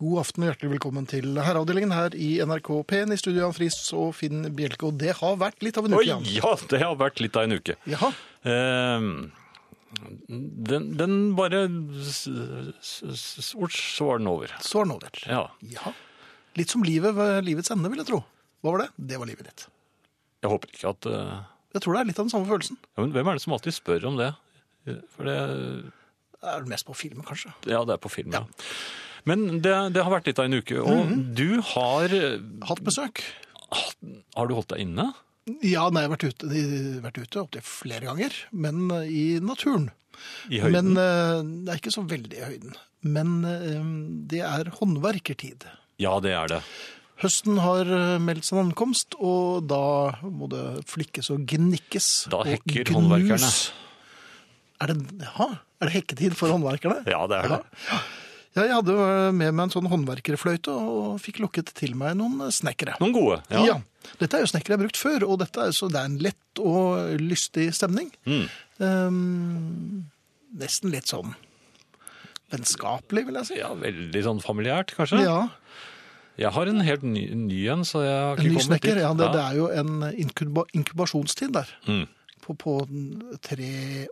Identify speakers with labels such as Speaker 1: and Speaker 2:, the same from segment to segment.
Speaker 1: God aften og hjertelig velkommen til Herreavdelingen her i NRK P1 i studio Jan Friis og Finn Bjelke. Og det har vært litt av en
Speaker 2: Oi,
Speaker 1: uke, Jan.
Speaker 2: ja, det har vært litt av en uke.
Speaker 1: Jaha.
Speaker 2: Ehm, den, den bare s- s- s- Sort, så var den over.
Speaker 1: Så er den over.
Speaker 2: Ja.
Speaker 1: Jaha. Litt som livet ved livets ende, vil jeg tro. Hva var det? Det var livet ditt.
Speaker 2: Jeg håper ikke at eh,
Speaker 1: Jeg tror det er litt av den samme følelsen.
Speaker 2: ja, men Hvem er det som alltid spør om det? For det
Speaker 1: Det er mest på filmen, kanskje.
Speaker 2: Ja, det er på film, ja. Men det, det har vært litt av en uke. Og
Speaker 1: Mhm.
Speaker 2: du har
Speaker 1: Hatt besøk.
Speaker 2: Har du holdt deg inne?
Speaker 1: Ja, nei, jeg har vært ute, de- vært ute opptil flere ganger, men eh, i naturen.
Speaker 2: I høyden?
Speaker 1: Men eh, det er ikke så veldig i høyden. Men eh, det er håndverkertid.
Speaker 2: ja, det er det.
Speaker 1: Høsten har eh, meldt sin ankomst, og da må det flikkes og gnikkes.
Speaker 2: Da
Speaker 1: og
Speaker 2: hekker
Speaker 1: gnus.
Speaker 2: håndverkerne.
Speaker 1: Er det, ja, er det hekketid for håndverkerne?
Speaker 2: Ja, det er det.
Speaker 1: Ja, jeg hadde eh, med meg en sånn håndverkerfløyte og fikk lukket til meg noen eh, snekkere.
Speaker 2: Noen gode.
Speaker 1: Ja. Dette er jo snekker jeg har brukt før, og dette er, så det er en lett og lystig stemning.
Speaker 2: Mm.
Speaker 1: Ehm, nesten litt sånn vennskapelig, vil jeg si.
Speaker 2: Ja, Veldig sånn familiært, kanskje?
Speaker 1: Ja,
Speaker 2: Jeg har en helt ny, ny en, så jeg har
Speaker 1: en
Speaker 2: ikke
Speaker 1: ny
Speaker 2: kommet
Speaker 1: snekker.
Speaker 2: dit.
Speaker 1: Ja, det, det er jo en inkuba, inkubasjonstid der.
Speaker 2: Mm.
Speaker 1: På, på 23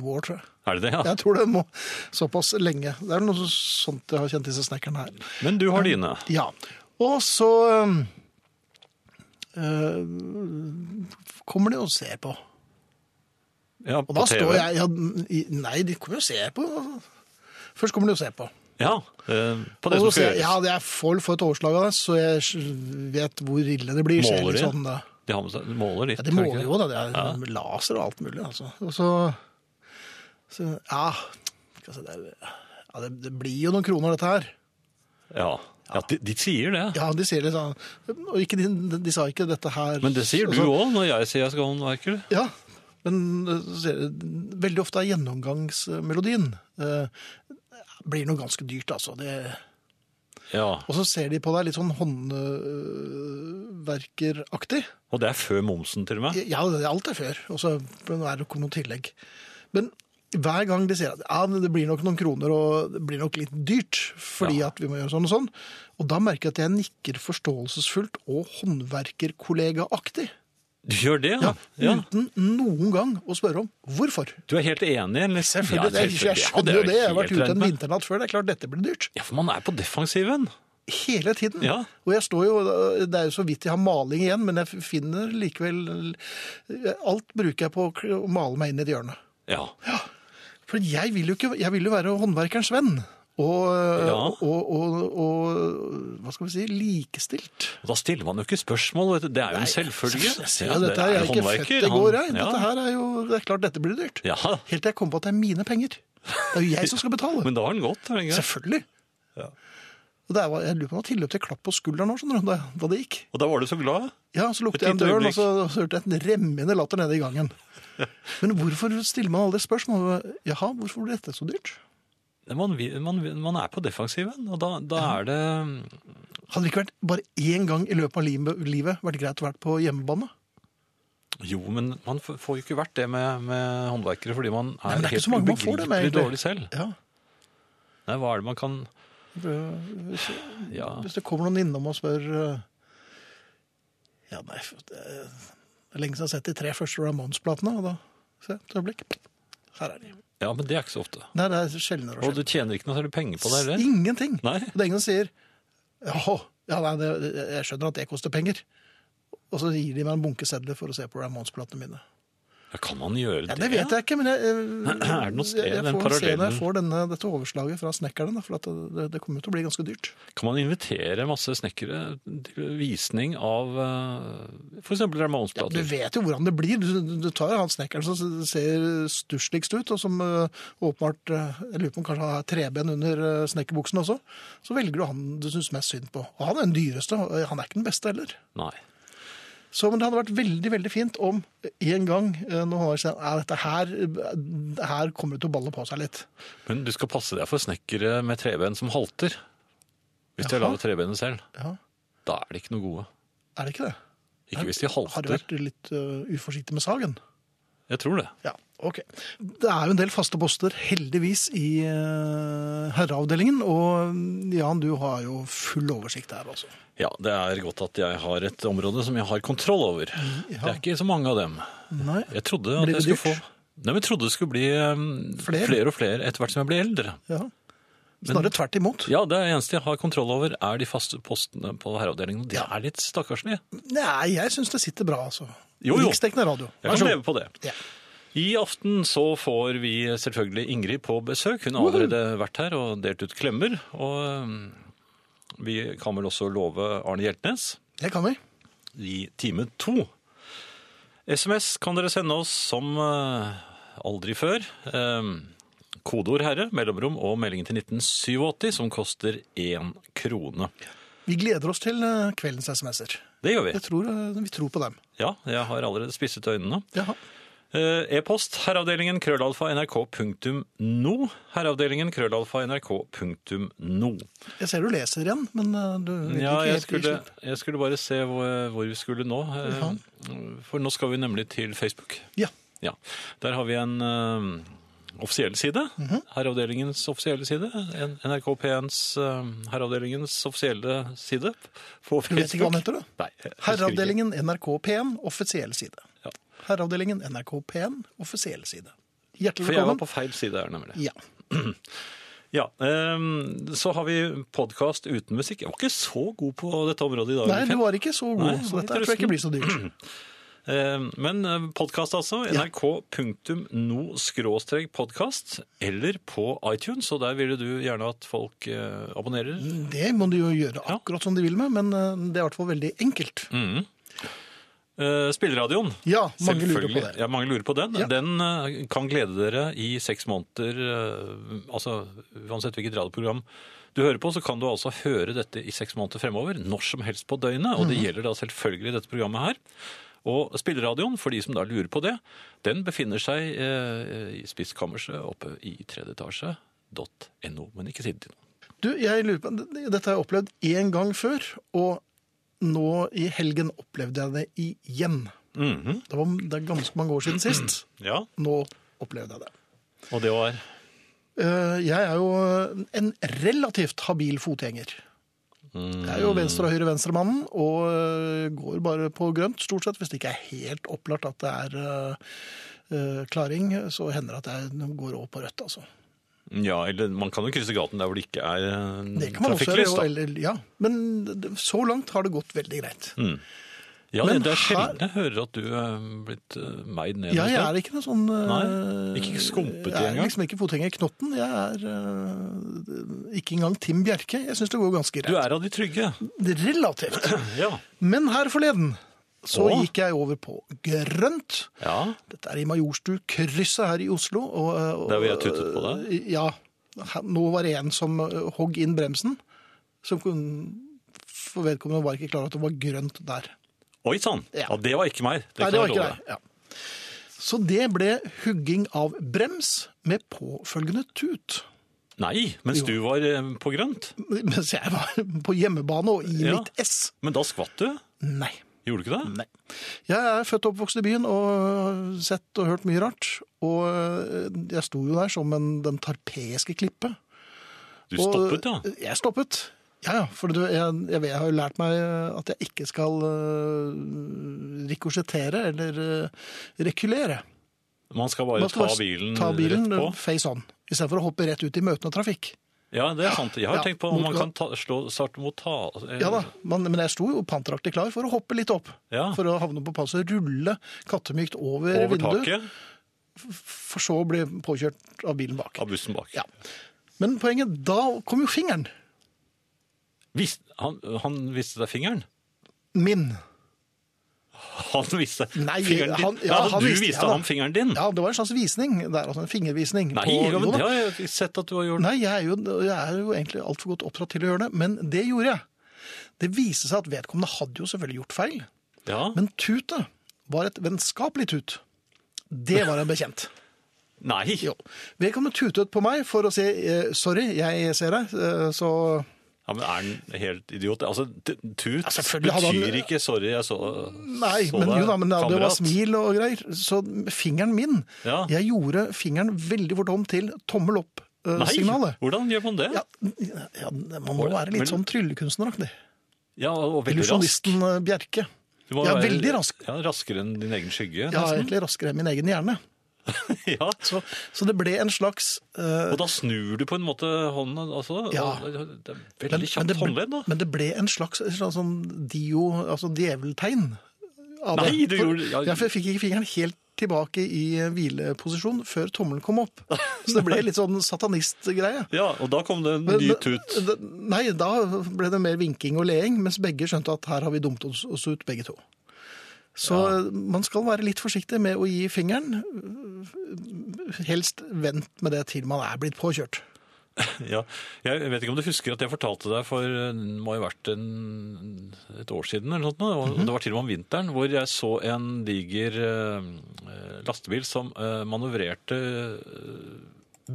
Speaker 1: år, tror jeg.
Speaker 2: Er det det, ja?
Speaker 1: Jeg tror det må såpass lenge. Det er noe sånt jeg har kjent disse snekkerne her.
Speaker 2: Men du har dine.
Speaker 1: Ja. Og så øhm, øh, kommer de og ser på.
Speaker 2: Ja,
Speaker 1: Og
Speaker 2: på
Speaker 1: da
Speaker 2: TV.
Speaker 1: står jeg ja, i- Nei, de kommer jo og ser på. Først kommer de og ser på.
Speaker 2: Ja, eh, på det
Speaker 1: og
Speaker 2: som
Speaker 1: så ser
Speaker 2: skal
Speaker 1: jeg,
Speaker 2: gjøres.
Speaker 1: ja, det er for for et overslag av det, så jeg s- vet hvor ille det blir. så jeg
Speaker 2: Måler de?
Speaker 1: Sånn, da.
Speaker 2: De har med seg, måler litt.
Speaker 1: ja, de
Speaker 2: tror jeg
Speaker 1: måler
Speaker 2: ikke?
Speaker 1: jo, da. Det er laser og alt mulig, altså. Og så, så Ja, skal jeg si det, er- ja det, det blir jo noen kroner, dette her.
Speaker 2: Ja, ja de, de sier det.
Speaker 1: Ja, de sier litt sånn Og ikke, de, de sa ikke dette her
Speaker 2: Men det sier du
Speaker 1: altså,
Speaker 2: òg når jeg sier jeg skal ha håndverker.
Speaker 1: Ja, men eh, så ser jeg- veldig ofte er gjennomgangsmelodien eh, blir noe ganske dyrt, altså. Det,
Speaker 2: Ja.
Speaker 1: og så ser de på deg litt sånn håndverkeraktig.
Speaker 2: Og det er før momsen, til og med.
Speaker 1: Ja, det er alt er før, og så er det noe tillegg. Men hver gang de sier at ja, men det blir nok noen kroner, og det blir nok litt dyrt, fordi
Speaker 2: Ja.
Speaker 1: at vi må gjøre sånn og sånn, og da merker jeg at jeg nikker forståelsesfullt og håndverkerkollegaaktig,
Speaker 2: Du gjør det, ja. ja.
Speaker 1: uten noen gang å spørre om hvorfor.
Speaker 2: Du er helt enig? Eller?
Speaker 1: Selvfølgelig,
Speaker 2: Ja,
Speaker 1: det, jeg
Speaker 2: selvfølgelig. Ja,
Speaker 1: skjønner
Speaker 2: er
Speaker 1: jo det. Jeg har
Speaker 2: helt
Speaker 1: vært ute
Speaker 2: redd
Speaker 1: en
Speaker 2: med.
Speaker 1: vinternatt før. Det er klart dette blir dyrt.
Speaker 2: Ja, for man er på defensiven.
Speaker 1: Hele tiden.
Speaker 2: Ja.
Speaker 1: Og jeg står jo Det er jo så vidt jeg har maling igjen, men jeg finner likevel Alt bruker jeg på å kl- å male meg inn i et hjørne.
Speaker 2: Ja.
Speaker 1: For jeg vil jo, ikke, jeg vil jo være håndverkerens venn. Og,
Speaker 2: Ja.
Speaker 1: og, og, og, hva skal vi si likestilt.
Speaker 2: Og da stiller man jo ikke spørsmål. vet du. Det er jo en selvfølgelig.
Speaker 1: Ja, dette er jeg ikke født i går, jeg. Dette her er jo Det er klart dette blir dyrt.
Speaker 2: Ja,
Speaker 1: Helt til jeg kom på at det er mine penger. Det er jo jeg som skal betale.
Speaker 2: men da har den gått. har den ikke?
Speaker 1: Selvfølgelig. Og der var, jeg lurer på om det var tilløp til klapp på skulderen nå, skjønner du, da, da det gikk.
Speaker 2: Og da var du så glad.
Speaker 1: Ja, så lukket
Speaker 2: Et
Speaker 1: jeg en
Speaker 2: lite
Speaker 1: døren, og
Speaker 2: øyeblikk.
Speaker 1: så, og så hørte jeg en remmende latter nede i gangen. Men hvorfor stiller man aldri spørsmål? Jaha, hvorfor ble dette så dyrt?
Speaker 2: Man, vil- man, vil- man er på defensiven, og da, da er det
Speaker 1: Hadde det ikke vært bare én gang i løpet av livet, livet vært greit å være på hjemmebane?
Speaker 2: Jo, men man f- får jo ikke vært det med, med håndverkere, fordi man
Speaker 1: Nei,
Speaker 2: er,
Speaker 1: men det er ikke
Speaker 2: helt
Speaker 1: så mange man får det med,
Speaker 2: ubegripelig
Speaker 1: egentlig.
Speaker 2: dårlig selv.
Speaker 1: Ja.
Speaker 2: Nei, hva er det man kan
Speaker 1: Hvis,
Speaker 2: Ja,
Speaker 1: hvis det kommer noen innom og spør eh, Ja, nei, det er det er lenge siden jeg har sett de tre første Ramones-platene. Og da se, et øyeblikk. Her er de.
Speaker 2: ja men det er ikke så ofte.
Speaker 1: Nei, det er sjeldnere
Speaker 2: Og du tjener ikke noe særlig penger på det heller.
Speaker 1: Ingenting.
Speaker 2: Nei.
Speaker 1: Og det er ingen som sier «Jaha, ja, nei, det, jeg skjønner at det koster penger. Og så gir de meg en bunke sedler for å se på Ramones-platene mine.
Speaker 2: Ja, kan man gjøre
Speaker 1: Ja,
Speaker 2: det?
Speaker 1: det vet jeg ikke, men jeg, eh,
Speaker 2: Er det noe sted
Speaker 1: jeg, jeg
Speaker 2: den
Speaker 1: får se når jeg
Speaker 2: parallellen-
Speaker 1: får denne, dette overslaget fra snekkerne, da, for at det, det kommer jo til å bli ganske dyrt.
Speaker 2: Kan man invitere masse snekkere til visning av eh, for eksempel
Speaker 1: Du
Speaker 2: Ramones-plater?
Speaker 1: vet jo hvordan det blir. Du, du tar han snekkeren som ser stussligst ut, og som øh, åpenbart øh, Jeg lurer på om kanskje han har treben under øh, snekkerbuksen også. Så velger du han du syns mest synd på. Og han er den dyreste. og eh, Han er ikke den beste heller.
Speaker 2: Nei.
Speaker 1: Så men det hadde vært veldig veldig fint om en gang eh, når han sier at dette her, eh, her kommer det til å balle på seg litt.
Speaker 2: Men du skal passe deg for snekkere med treben som halter. Hvis de har
Speaker 1: Jaha.
Speaker 2: laget trebenet selv.
Speaker 1: Ja,
Speaker 2: Da er de ikke noe gode.
Speaker 1: Er det ikke det?
Speaker 2: Ikke hvis de
Speaker 1: Har du
Speaker 2: halter.
Speaker 1: vært litt eh, uforsiktig med sagen?
Speaker 2: Jeg tror det.
Speaker 1: Ja, ok. Det er jo en del faste poster, heldigvis, i eh, herreavdelingen. Og øh, Jan, du har jo full oversikt der, altså.
Speaker 2: Ja, det er godt at jeg har et område som jeg har kontroll over. Det er ikke så mange av dem.
Speaker 1: Nei.
Speaker 2: Jeg trodde at
Speaker 1: Blir
Speaker 2: jeg
Speaker 1: det
Speaker 2: skulle få...
Speaker 1: dyrt?
Speaker 2: Nei, men jeg trodde det skulle bli um,
Speaker 1: Flere?
Speaker 2: flere og flere etter hvert som jeg ble eldre.
Speaker 1: Ja. Snarere tvert imot.
Speaker 2: Ja, det eneste jeg har kontroll over er de faste postene på herreavdelingen. og De er litt stakkarslige.
Speaker 1: Nei, jeg syns det sitter bra, altså.
Speaker 2: Jo, jo.
Speaker 1: Riksdekkende radio.
Speaker 2: Jeg kan leve på det.
Speaker 1: Ja.
Speaker 2: I aften så får vi selvfølgelig Ingrid på besøk. Hun har allerede vært her og delt ut klemmer. Og um, vi kan vel også love Arne Hjeltnes
Speaker 1: Det kan vi.
Speaker 2: i time to. SMS kan dere sende oss som eh, aldri før. Em, Kodeord herre, mellomrom og meldingen til 1987 som koster én krone.
Speaker 1: Vi gleder oss til eh, kveldens SMS-er.
Speaker 2: Det gjør vi.
Speaker 1: Jeg tror eh, vi tror på dem.
Speaker 2: Ja, jeg har allerede spisset øynene.
Speaker 1: Jaha.
Speaker 2: Eh, E-post herreavdelingen krøllalfa nrk.no. Herreavdelingen krøllalfa nrk.no.
Speaker 1: Jeg ser du leser igjen, men eh, du vil
Speaker 2: Ja,
Speaker 1: ikke
Speaker 2: jeg
Speaker 1: helt gi
Speaker 2: skulle,
Speaker 1: slipp.
Speaker 2: jeg skulle bare se hvor, hvor vi skulle nå. eh, For nå skal vi nemlig til Facebook.
Speaker 1: Ja.
Speaker 2: Ja, Der har vi en eh, offisiell side.
Speaker 1: Mhm.
Speaker 2: Herreavdelingens offisielle side. En- NRK P1s eh, herreavdelingens offisielle side på
Speaker 1: Du vet
Speaker 2: Facebook.
Speaker 1: ikke hva den heter, du?
Speaker 2: Nei, jeg husker ikke.
Speaker 1: Herreavdelingen NRK P1, offisiell side.
Speaker 2: Ja.
Speaker 1: Herreavdelingen NRK P1, offisiell side.
Speaker 2: For
Speaker 1: Hjertelig
Speaker 2: jeg var
Speaker 1: velkommen.
Speaker 2: på feil side her, nemlig.
Speaker 1: Ja.
Speaker 2: Ja, ehm, Så har vi podkast uten musikk. Jeg var ikke så god på dette området i dag.
Speaker 1: Nei, du var ikke så god,
Speaker 2: Nei,
Speaker 1: så dette
Speaker 2: litt
Speaker 1: tror jeg ikke
Speaker 2: rusten.
Speaker 1: blir så dyrt.
Speaker 2: Ehm, Men podkast, altså. nrk.no-podkast. Eller på iTunes, og der ville du gjerne at folk eh, abonnerer.
Speaker 1: Det må de jo gjøre akkurat som de vil med, men eh, det er i hvert fall veldig enkelt.
Speaker 2: Mm. Eh, Spilleradioen.
Speaker 1: Ja, mange lurer
Speaker 2: Selvfølgelig.
Speaker 1: på det.
Speaker 2: Ja, mange lurer på den.
Speaker 1: Ja.
Speaker 2: Den eh, kan glede dere i seks måneder. eh, Altså uansett hvilket radioprogram du hører på, så kan du altså høre dette i seks måneder fremover. Når som helst på døgnet. Og
Speaker 1: Mm.
Speaker 2: det gjelder da selvfølgelig dette programmet her. Og spilleradioen, for de som da lurer på det, den befinner seg eh, i spiskammerset oppe i tredje etasje. .no, men ikke si det til noen.
Speaker 1: Du, jeg lurer på, dette har jeg opplevd én gang før, og nå i helgen opplevde jeg det igjen. Det var det er ganske mange år siden sist.
Speaker 2: Ja,
Speaker 1: Nå opplevde jeg det.
Speaker 2: og det var
Speaker 1: Eh, Jeg er jo en relativt habil fotgjenger. Jeg
Speaker 2: Mm.
Speaker 1: er jo venstre- og høyre-venstremannen, og eh, går bare på grønt stort sett. Hvis det ikke er helt opplagt at det er eh, eh, klaring, så hender det at jeg går over på rødt, altså.
Speaker 2: Ja, eller man kan jo krysse gaten der hvor det ikke er eh,
Speaker 1: Det kan man også gjøre.
Speaker 2: trafikklys,
Speaker 1: jo,
Speaker 2: da.
Speaker 1: Eller, ja. Men det- så langt har det gått veldig greit.
Speaker 2: Mm. Ja,
Speaker 1: Men
Speaker 2: det, det er
Speaker 1: her-
Speaker 2: sjelden jeg hører at du er blitt eh, meid ned.
Speaker 1: Ja,
Speaker 2: noe
Speaker 1: jeg
Speaker 2: sted.
Speaker 1: er ikke noe sånn eh,
Speaker 2: Nei, ikke skumpete
Speaker 1: Jeg er
Speaker 2: engang?
Speaker 1: liksom ikke fotgjenger i knotten. Jeg er eh, ikke engang Tim Bjerke. Jeg syns det går ganske
Speaker 2: Du
Speaker 1: greit.
Speaker 2: er av de trygge.
Speaker 1: Relativt.
Speaker 2: Ja.
Speaker 1: Men her forleden så
Speaker 2: Å.
Speaker 1: gikk jeg over på grønt.
Speaker 2: ja.
Speaker 1: Dette er i Majorstu-krysset her i Oslo. Og, og,
Speaker 2: Der hvor jeg tuttet på deg?
Speaker 1: Ja. Her- Nå var det en som eh, hogg inn bremsen. Som kun- for vedkommende var ikke klar over at det var grønt der.
Speaker 2: Oi sann!
Speaker 1: Ja.
Speaker 2: Ja. det var ikke meg.
Speaker 1: Nei,
Speaker 2: kan
Speaker 1: det var
Speaker 2: jeg
Speaker 1: ikke
Speaker 2: love
Speaker 1: det. Ja. Så det ble hugging av brems med påfølgende tut.
Speaker 2: deg. Nei, mens du var eh, på grønt.
Speaker 1: Mens jeg var på hjemmebane og i
Speaker 2: Ja.
Speaker 1: mitt ess.
Speaker 2: Men da skvatt du.
Speaker 1: Nei.
Speaker 2: Gjorde du ikke det?
Speaker 1: Nei. Jeg er født og oppvokst i byen og sett og hørt mye rart. Og eh, jeg sto jo der som en, den tarpeiske klippe.
Speaker 2: Du
Speaker 1: Og
Speaker 2: stoppet, ja.
Speaker 1: Jeg stoppet. Ja, ja, for du, jeg, jeg, vet- jeg har jo lært meg at jeg ikke skal øh, rikosjettere eller øh, rekulere.
Speaker 2: Man skal bare
Speaker 1: Man skal
Speaker 2: ta
Speaker 1: bare
Speaker 2: bilen,
Speaker 1: ta bilen
Speaker 2: rett på.
Speaker 1: face on, istedenfor å hoppe rett ut i møtende trafikk.
Speaker 2: Ja, det er sant. Jeg har
Speaker 1: Ja,
Speaker 2: tenkt på om
Speaker 1: mot
Speaker 2: man kan ta, slå starte mot ta... eh,
Speaker 1: Ja da, men, men jeg sto jo panteraktig klar for å hoppe litt opp.
Speaker 2: Ja.
Speaker 1: For å havne på passet, rulle kattemykt over,
Speaker 2: Over
Speaker 1: vinduet,
Speaker 2: taket
Speaker 1: for så å bli påkjørt av bilen bak.
Speaker 2: av bussen bak.
Speaker 1: Ja. Men poenget, da kom jo fingeren
Speaker 2: Vis, han, han viste deg fingeren?
Speaker 1: min.
Speaker 2: Han viste deg
Speaker 1: Nei,
Speaker 2: fingeren din?
Speaker 1: han- ja,
Speaker 2: Nei, altså,
Speaker 1: han
Speaker 2: du
Speaker 1: viste-
Speaker 2: viste,
Speaker 1: ja da.
Speaker 2: ham fingeren din?
Speaker 1: Ja, det var en slags visning der, altså en fingervisning.
Speaker 2: Nei,
Speaker 1: på-
Speaker 2: ja,
Speaker 1: Jo
Speaker 2: men
Speaker 1: da.
Speaker 2: det har jeg ikke sett at du har gjort.
Speaker 1: Nei, jeg er jo, jeg er jo egentlig altfor godt oppdratt til å gjøre det, men det gjorde jeg. Det viste seg at vedkommende hadde jo selvfølgelig gjort feil,
Speaker 2: Ja.
Speaker 1: men tutet var et vennskapelig tut. Det var en bekjent.
Speaker 2: Nei.
Speaker 1: Jo. Vedkommende tutet på meg for å si eh, 'sorry, jeg ser deg', eh, så
Speaker 2: Ja, men er han helt idiot? Altså, t- tut
Speaker 1: Ja, selvfølgelig hadde han-
Speaker 2: betyr ikke 'sorry, jeg så,
Speaker 1: Nei,
Speaker 2: så
Speaker 1: men
Speaker 2: deg,
Speaker 1: jo da, men det, det var
Speaker 2: kamerat».
Speaker 1: smil og greier. Så fingeren min
Speaker 2: Ja.
Speaker 1: Jeg gjorde fingeren veldig fort om til tommel
Speaker 2: Nei,
Speaker 1: opp-signalet.
Speaker 2: hvordan gjør man det?
Speaker 1: ja,
Speaker 2: Ja,
Speaker 1: ja, man må være
Speaker 2: Men-
Speaker 1: litt sånn tryllekunstneraktig.
Speaker 2: og veldig rask.
Speaker 1: Illusjonisten eh, Bjerke.
Speaker 2: Du må
Speaker 1: Ja,
Speaker 2: være-
Speaker 1: veldig rask.
Speaker 2: Ja, raskere enn din egen skygge.
Speaker 1: Ja,
Speaker 2: nesten.
Speaker 1: egentlig raskere enn min egen hjerne.
Speaker 2: ja.
Speaker 1: Så, så det ble en slags eh,
Speaker 2: Og da snur du på en måte hånda. Altså,
Speaker 1: Ja.
Speaker 2: og- det er
Speaker 1: men,
Speaker 2: veldig
Speaker 1: men,
Speaker 2: kjapt
Speaker 1: det,
Speaker 2: håndledd, da.
Speaker 1: ble- men det ble en slags, en slags sånn dio, altså djeveltegn. av det.
Speaker 2: Nei, du
Speaker 1: For-
Speaker 2: gjorde- ja.
Speaker 1: ja, for jeg fikk ikke fingeren helt tilbake i hvileposisjon før tommelen kom opp. Så det ble litt sånn satanistgreie.
Speaker 2: Ja, og da kom det en
Speaker 1: Men-
Speaker 2: ny
Speaker 1: men-
Speaker 2: tut.
Speaker 1: d- Nei, da ble det mer vinking og leing, mens begge skjønte at her har vi dumt oss oss ut, begge to. Så man skal være litt forsiktig med å gi fingeren. Helst vent med det til man er blitt påkjørt.
Speaker 2: Ja. Jeg vet ikke om du husker at jeg fortalte deg for eh, det må ha vært en, et år siden, eller noe sånt, nå, og det var til og med om vinteren, hvor jeg så en diger eh, lastebil som eh, manøvrerte eh,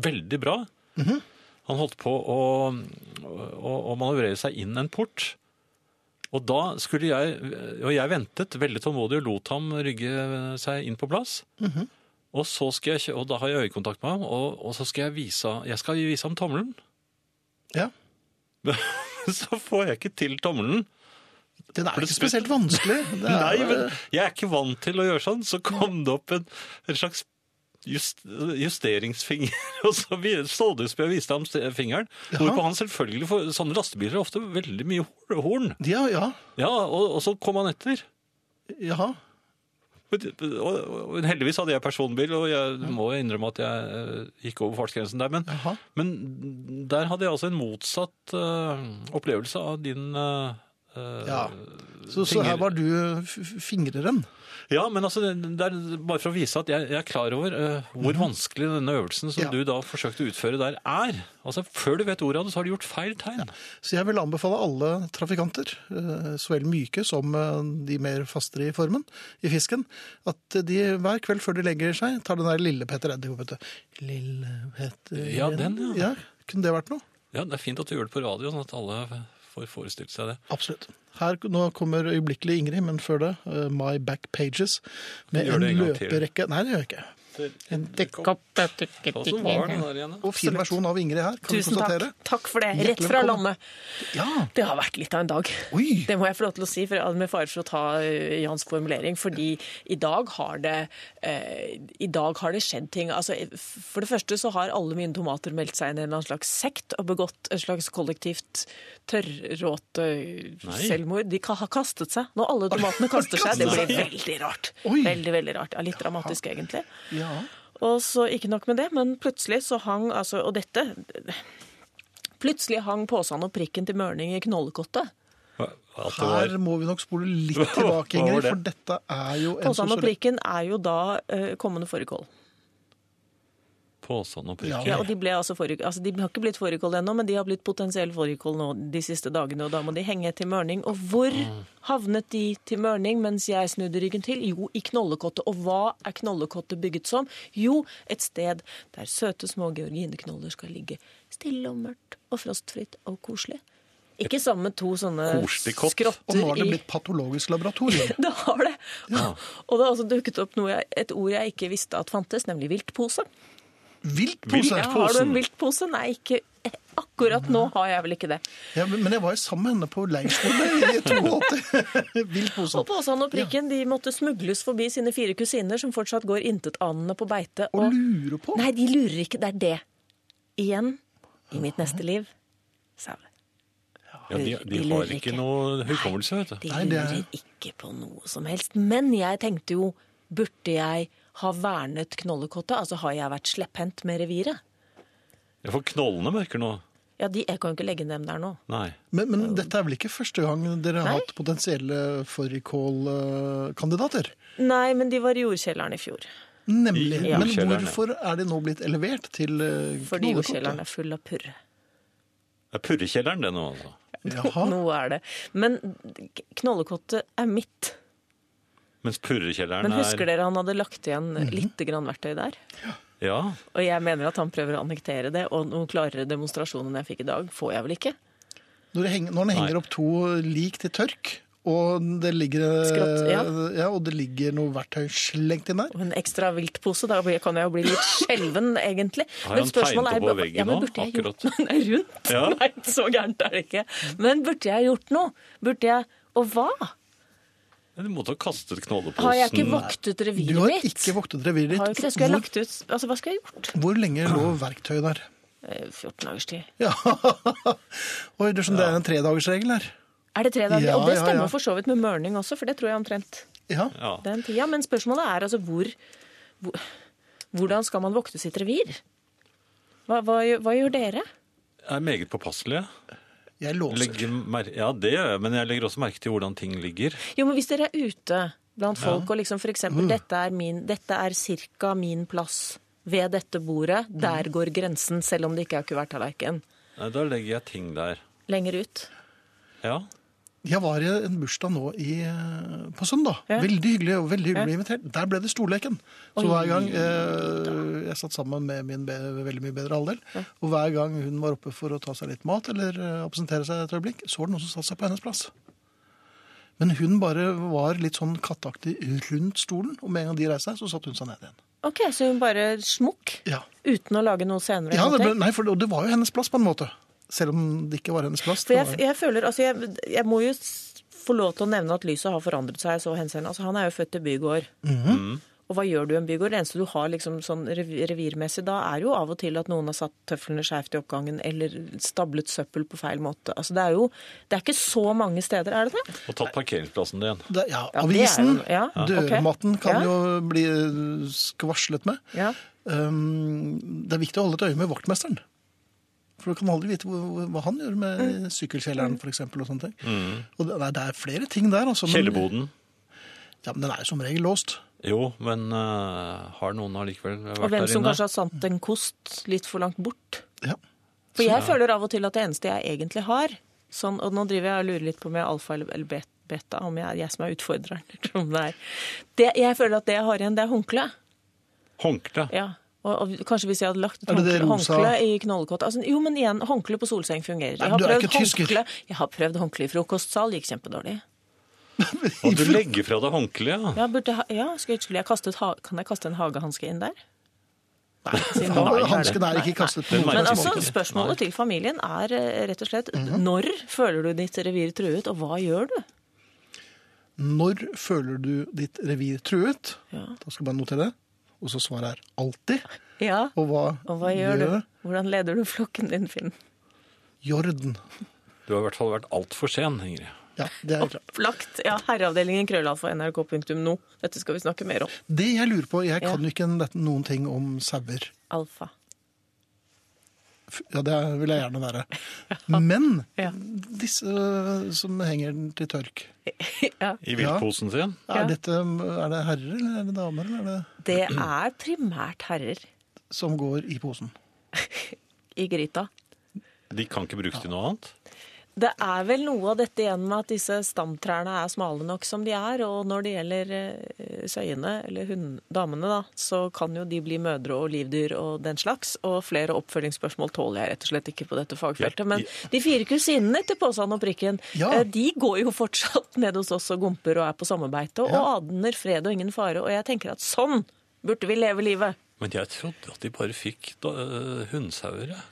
Speaker 2: veldig bra. Han holdt på å, å, å manøvrere seg inn en port. Og da skulle jeg, og jeg ventet veldig tålmodig og lot ham rygge seg inn på plass. Og, så skal jeg, kjø- og da har jeg øyekontakt med ham, og, og så skal jeg vise, jeg skal vise ham tommelen.
Speaker 1: Ja.
Speaker 2: Så får jeg ikke til tommelen.
Speaker 1: Den er
Speaker 2: For det
Speaker 1: ikke spesielt vanskelig. Det er,
Speaker 2: Nei, men jeg er ikke vant til å gjøre sånn. Så kom det opp en, en slags just, justeringsfinger, og så vi- ståldyspet jeg viste ham ste- fingeren.
Speaker 1: Jaha.
Speaker 2: Hvorpå han selvfølgelig får Sånne lastebiler har ofte veldig mye hor- horn.
Speaker 1: Ja, ja.
Speaker 2: Ja, og, og så kom han etter.
Speaker 1: Jaha.
Speaker 2: Men det- Og, og heldigvis hadde jeg personbil, og jeg må innrømme at jeg eh, gikk over fartsgrensen der. Men,
Speaker 1: Jaha.
Speaker 2: men der hadde jeg altså en motsatt eh, opplevelse av din eh, eh,
Speaker 1: Ja. Så, så
Speaker 2: Finger-
Speaker 1: her var du f- f- fingreren.
Speaker 2: Ja, men altså, det er bare for å vise at jeg, jeg er klar over eh,
Speaker 3: Mhm.
Speaker 2: hvor vanskelig denne øvelsen som
Speaker 1: Ja.
Speaker 2: du da forsøkte å utføre der, er. Altså, Før du vet ordet av det, så har du gjort feil tegn.
Speaker 1: Så jeg vil anbefale alle trafikanter, eh, så vel myke som eh, de mer fastere i formen, i fisken, at de hver kveld før de legger seg, tar den der lille Petter Eddy hoppete. Lille Petter
Speaker 2: Ja, den, ja.
Speaker 1: Kunne det vært noe?
Speaker 2: Ja. Det er fint at du gjør det på radio, sånn at alle får forestilt seg det.
Speaker 1: Absolutt. Her, nå kommer øyeblikkelig Ingrid, men før det, eh, My Back Pages, med
Speaker 2: Gjør
Speaker 1: en
Speaker 2: det en gang til.
Speaker 1: løperekke. Nei, det gjør jeg ikke.
Speaker 2: En Og så var den der igjen, ja.
Speaker 1: Og fin versjon av Ingrid her, kan
Speaker 3: Tusen
Speaker 1: du
Speaker 3: takk.
Speaker 1: konstatere.
Speaker 3: Takk for det.
Speaker 1: Hjertelig
Speaker 3: Rett fra
Speaker 1: velkommen.
Speaker 3: landet.
Speaker 1: Ja,
Speaker 3: Det har vært litt av en dag.
Speaker 1: Oi.
Speaker 3: Det må jeg få lov til å si, for med fare for å ta eh, Jans formulering. Fordi i dag har det eh, i dag har det skjedd ting. Altså, for det første så har alle mine tomater meldt seg inn i en eller annen slags sekt og begått et slags kollektivt tørråte selvmord. De ka- har kastet seg. Når alle tomatene kaster seg, det blir veldig rart.
Speaker 1: Oi.
Speaker 3: Veldig, veldig rart. Ja, litt dramatisk, egentlig.
Speaker 1: ja.
Speaker 3: Og så ikke nok med det, men plutselig så hang altså, Og dette Plutselig hang posen og prikken til Mørning i knollekottet.
Speaker 2: At det var
Speaker 1: Her må vi nok spole litt
Speaker 2: Hva var
Speaker 1: tilbake, Ingrid,
Speaker 2: det?
Speaker 1: for dette er jo en
Speaker 3: Posen og
Speaker 1: sosial...
Speaker 3: prikken er jo da eh, kommende fårikål.
Speaker 2: påsann og
Speaker 1: Ja.
Speaker 2: prikker.
Speaker 3: Ja, og de, ble altså fårikål- altså de har ikke blitt fårikål ennå, men de har blitt potensiell fårikål nå de siste dagene, og da må de henge til Mørning. Og hvor
Speaker 2: Mm.
Speaker 3: havnet de til Mørning mens jeg snudde ryggen til? Jo, i knollekottet. Og hva er knollekottet bygget som? Jo, et sted der søte små georgineknoller skal ligge stille og mørkt og frostfritt og koselig. Ikke sammen med to sånne
Speaker 2: koselig kott.
Speaker 1: Og nå
Speaker 3: skrotter
Speaker 1: har det
Speaker 3: i
Speaker 1: blitt patologisk laboratorium.
Speaker 3: det har det. Og det har også dukket opp noe jeg, et ord jeg ikke visste at fantes, nemlig viltpose.
Speaker 1: Viltpose.
Speaker 3: Ja, har du en viltpose? Nei, ikke akkurat nå har jeg vel ikke det.
Speaker 1: Ja, men men jeg var jo sammen med henne på leirskole i 82.
Speaker 3: Og
Speaker 1: Viltposen.
Speaker 3: Påsan og Prikken de måtte smugles forbi sine fire kusiner, som fortsatt går intetanende på beite.
Speaker 1: Og lurer på.
Speaker 3: Nei, de lurer ikke. Det er det. Igjen, i mitt neste liv, sa jeg.
Speaker 2: Ja, de, de
Speaker 3: de lurer
Speaker 2: har
Speaker 3: ikke.
Speaker 2: ikke noe hukommelse, vet du.
Speaker 3: De
Speaker 1: Nei, det er-
Speaker 3: lurer ikke på noe som helst. Men jeg tenkte jo, burde jeg ha vernet Knollekottet? Altså, har jeg vært slepphendt med reviret?
Speaker 2: Ja, For knollene merker noe.
Speaker 3: Ja, de, jeg kan jo ikke legge dem der nå.
Speaker 2: Nei.
Speaker 1: Men, men dette er vel ikke første gang dere har
Speaker 3: Nei.
Speaker 1: hatt potensielle fårikålkandidater?
Speaker 3: Nei, men de var i jordkjelleren i fjor.
Speaker 1: Nemlig.
Speaker 2: I
Speaker 1: Men
Speaker 2: jordkjellerne.
Speaker 1: hvorfor er de nå blitt elevert til eh,
Speaker 3: Fordi
Speaker 1: Knollekottet?
Speaker 3: jordkjelleren er full av purre.
Speaker 2: Det er purrekjelleren, det nå, altså.
Speaker 1: Jaha.
Speaker 3: Noe er det. Men knollekottet er mitt.
Speaker 2: Mens purrekjelleren
Speaker 3: Men husker
Speaker 2: er Mhm.
Speaker 3: dere han hadde lagt igjen litt grann verktøy der?
Speaker 2: Ja.
Speaker 3: Og jeg mener at han prøver å annektere det, og noen klarere demonstrasjon enn jeg fikk i dag, får jeg vel ikke?
Speaker 1: Når, det henger, når den henger
Speaker 2: Nei.
Speaker 1: opp to lik til tørk, og det ligger,
Speaker 3: Skratt, ja.
Speaker 1: ja, og det ligger noe verktøy slengt inn der
Speaker 3: Og En ekstra viltpose, da blir- kan jeg jo bli litt skjelven, egentlig.
Speaker 2: Har han tegnet på veggen
Speaker 3: ja, men
Speaker 2: nå?
Speaker 3: burde jeg gjort
Speaker 2: Akkurat.
Speaker 3: noe Nei, rundt?
Speaker 2: Ja.
Speaker 3: Nei, så gærent er det ikke. Men burde jeg gjort noe? Burde jeg Og hva?
Speaker 2: Du måtte ha kastet knolleposen.
Speaker 3: Har jeg ikke voktet
Speaker 1: Du
Speaker 3: reviret
Speaker 1: har
Speaker 3: mitt?
Speaker 1: ikke voktet reviret
Speaker 3: Har jo
Speaker 1: ditt.
Speaker 3: ikke det. Skulle jeg lagt ut Altså, hva skulle jeg gjort?
Speaker 1: Hvor, hvor lenge lå verktøyet der?
Speaker 3: Eh, 14 dagers tid.
Speaker 1: Ja. Oi, du skjønner, det er en tredagersregel her.
Speaker 3: Er det tre dager?
Speaker 1: Ja,
Speaker 3: og det
Speaker 1: ja,
Speaker 3: stemmer
Speaker 1: ja.
Speaker 3: for så vidt med mørning også, for det tror jeg omtrent
Speaker 1: Ja.
Speaker 2: Ja.
Speaker 3: den tida. Men spørsmålet er altså hvor, hvor Hvordan skal man vokte sitt revir? Hva, hva, gjør- hva gjør dere?
Speaker 2: Jeg er meget påpasselig. jeg.
Speaker 1: Jeg låser.
Speaker 2: Legger mer ja, det gjør jeg, men jeg legger også merke til hvordan ting ligger.
Speaker 3: Jo, men hvis dere er ute blant folk og liksom f.eks.:
Speaker 1: Mm.
Speaker 3: dette, er min- dette er cirka min plass ved dette bordet.
Speaker 1: Mm.
Speaker 3: Der går grensen, selv om det ikke er kuverttallerken.
Speaker 2: Nei, da legger jeg ting der.
Speaker 3: Lenger ut.
Speaker 2: Ja.
Speaker 1: Jeg var i en bursdag nå i, eh, på søndag.
Speaker 3: Ja.
Speaker 1: Veldig hyggelig og veldig hyggelig invitert. Der ble det storleken. Så hver gang eh, Jeg satt sammen med min be veldig mye bedre halvdel. Og hver gang hun var oppe for å ta seg litt mat eller eh, absentere seg et øyeblikk, så var det noen som satte seg på hennes plass. Men hun bare var litt sånn katteaktig rundt stolen, og med en gang de reiste seg, så satte hun seg ned igjen.
Speaker 3: OK, så hun bare smukk?
Speaker 1: Ja.
Speaker 3: Uten å lage noe senere?
Speaker 1: Ja, det ble,
Speaker 3: kontekst?
Speaker 1: nei, for det, og det var jo hennes plass på en måte. Selv om det ikke var hennes plass.
Speaker 3: For
Speaker 1: det
Speaker 3: jeg,
Speaker 1: var jo-
Speaker 3: jeg føler, altså jeg, jeg må jo s- få lov til å nevne at lyset har forandret seg i så henseende. Altså han er jo født i bygård. Og hva gjør du i en bygård? Det eneste du har liksom sånn rev- revirmessig da, er jo av og til at noen har satt tøflene skjevt i oppgangen, eller stablet søppel på feil måte. Altså det er jo Det er ikke så mange steder, er det det?
Speaker 2: Og tatt parkeringsplassen din.
Speaker 1: det, ja,
Speaker 3: Ja,
Speaker 1: avisen,
Speaker 3: det er jo- ja, ok.
Speaker 1: dørmatten, kan
Speaker 3: Ja.
Speaker 1: jo bli eh, skvarslet med.
Speaker 3: Ja.
Speaker 1: Um, det er viktig å holde et øye med vaktmesteren. For du kan aldri vite hva, hva han gjør med
Speaker 3: Mm.
Speaker 1: sykkelkjelleren for eksempel, og sånne ting.
Speaker 2: Mm.
Speaker 1: Og det, nei, det er flere ting der. Altså, men-
Speaker 2: Kjellerboden.
Speaker 1: Ja, men den er jo som regel låst.
Speaker 2: Jo, men eh, har noen allikevel vært der inne?
Speaker 3: Og hvem som kanskje har sant en kost litt for langt bort.
Speaker 1: Ja.
Speaker 3: For jeg føler av og til at det eneste jeg egentlig har sånn, Og nå driver jeg og lurer litt på om jeg er alfa eller- eller bet- beta, om jeg er jeg som er utfordreren. eller om det er. Det, jeg føler at det jeg har igjen, det er håndkle.
Speaker 2: Håndkle.
Speaker 3: Ja. Og, og kanskje hvis jeg hadde lagt et
Speaker 1: Er det det
Speaker 3: håndkle,
Speaker 1: rosa?
Speaker 3: håndkle i knollekott altså, Jo, men igjen, håndkle på solseng fungerer.
Speaker 1: Nei,
Speaker 3: Jeg har,
Speaker 1: du er
Speaker 3: prøvd
Speaker 1: ikke tysker.
Speaker 3: håndkle, jeg har prøvd håndkle i frokostsal, gikk kjempedårlig.
Speaker 2: Og du legger fra deg håndkleet, ja.
Speaker 3: Ja, burde, jeg ha- ja, skulle, skulle jeg kaste et ha, kan jeg kaste en hagehanske inn der? Nei, siden nå er det-
Speaker 1: Hansken er ikke Mhm. kastet på
Speaker 2: Den
Speaker 1: noen
Speaker 2: merker
Speaker 3: Men
Speaker 1: plass.
Speaker 2: man
Speaker 3: altså,
Speaker 2: ikke.
Speaker 3: spørsmålet til familien er eh, rett og slett når føler du ditt revir truet, og hva gjør du?
Speaker 1: Når føler du ditt revir truet?
Speaker 3: Ja.
Speaker 1: Da skal du bare notere det. Og så svaret er alltid.
Speaker 3: Ja,
Speaker 1: Og hva,
Speaker 3: og hva gjør du? Hvordan leder du flokken din, Finn?
Speaker 1: Jorden.
Speaker 2: Du har i hvert fall vært altfor sen, Ingrid.
Speaker 1: Ja, det er klart.
Speaker 3: Opplagt. Ja, herreavdelingen krøllalfa nrk.no. Dette skal vi snakke mer om.
Speaker 1: Det jeg lurer på, jeg
Speaker 3: Ja.
Speaker 1: kan jo ikke dette- noen ting om sauer.
Speaker 3: Alfa.
Speaker 1: F- Ja, det vil jeg gjerne være. Men
Speaker 3: Ja.
Speaker 1: disse øh, som henger den til tørk,
Speaker 3: Ja.
Speaker 2: I viltposen sin.
Speaker 1: er,
Speaker 3: Ja.
Speaker 1: dette, um, er det herrer eller er det damer eller er det
Speaker 3: Det er primært herrer
Speaker 1: som går i posen?
Speaker 3: i gryta.
Speaker 2: De kan ikke brukes til noe annet.
Speaker 3: Det er vel noe av dette igjen med at disse stamtrærne er smale nok som de er, og når det gjelder eh, søyene, eller hund, damene da, så kan jo de bli mødre og livdyr og den slags, og flere oppfølgingsspørsmål tåler jeg rett og slett ikke på dette fagfeltet. Men de fire kusinene til Påsan og Prikken,
Speaker 1: Ja.
Speaker 3: eh, de går jo fortsatt ned hos oss og gomper og er på sommerbeite, og
Speaker 1: Ja.
Speaker 3: adner fred og ingen fare, og jeg tenker at sånn burde vi leve livet.
Speaker 2: Men jeg trodde at de bare fikk da, øh, hundsauer. jeg.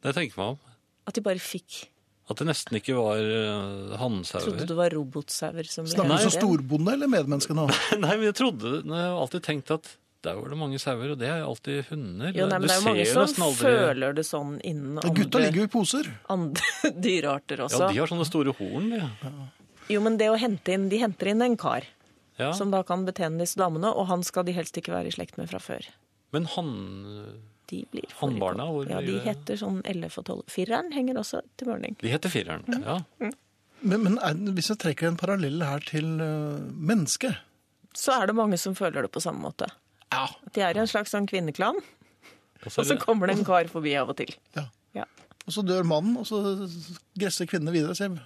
Speaker 2: Det tenker jeg meg om.
Speaker 3: At de bare fikk,
Speaker 2: At det nesten ikke var uh,
Speaker 3: trodde
Speaker 2: hannsauer.
Speaker 3: det var robotsauer som ble
Speaker 1: Snakker du som
Speaker 3: hentet inn.
Speaker 1: storbonde eller medmenneske nå?
Speaker 2: Nei, men jeg trodde Nei, Jeg har alltid tenkt at der var det mange sauer, og det er alltid hunder.
Speaker 3: Jo, nei, men
Speaker 2: du
Speaker 3: det er jo mange
Speaker 2: ser
Speaker 3: som
Speaker 2: nesten aldri-
Speaker 3: føler det sånn innen
Speaker 1: Ja, Gutta
Speaker 3: andre,
Speaker 1: ligger jo i poser.
Speaker 3: andre dyrearter
Speaker 2: Ja,
Speaker 3: også.
Speaker 2: de har sånne store horn, de.
Speaker 3: Jo, men det å hente inn, De henter inn en kar
Speaker 2: Ja.
Speaker 3: som da kan betjene disse damene, og han skal de helst ikke være i slekt med fra før.
Speaker 2: Men han
Speaker 3: De blir
Speaker 2: Hannbarna, hvor
Speaker 3: foregått. Ja, De
Speaker 2: blir det?
Speaker 3: heter sånn 11 og 12. Fireren henger også til mørning.
Speaker 2: De heter fireren. Ja.
Speaker 1: Men, men er, hvis jeg trekker en parallell her til øh, menneske
Speaker 3: Så er det mange som føler det på samme måte.
Speaker 1: Ja.
Speaker 3: At de er i en slags sånn kvinneklan,
Speaker 2: Og så
Speaker 3: og så
Speaker 2: er det-
Speaker 3: kommer det en kar forbi av og til.
Speaker 1: ja.
Speaker 3: Ja.
Speaker 1: Og så dør mannen, og så gresser kvinnene videre. Så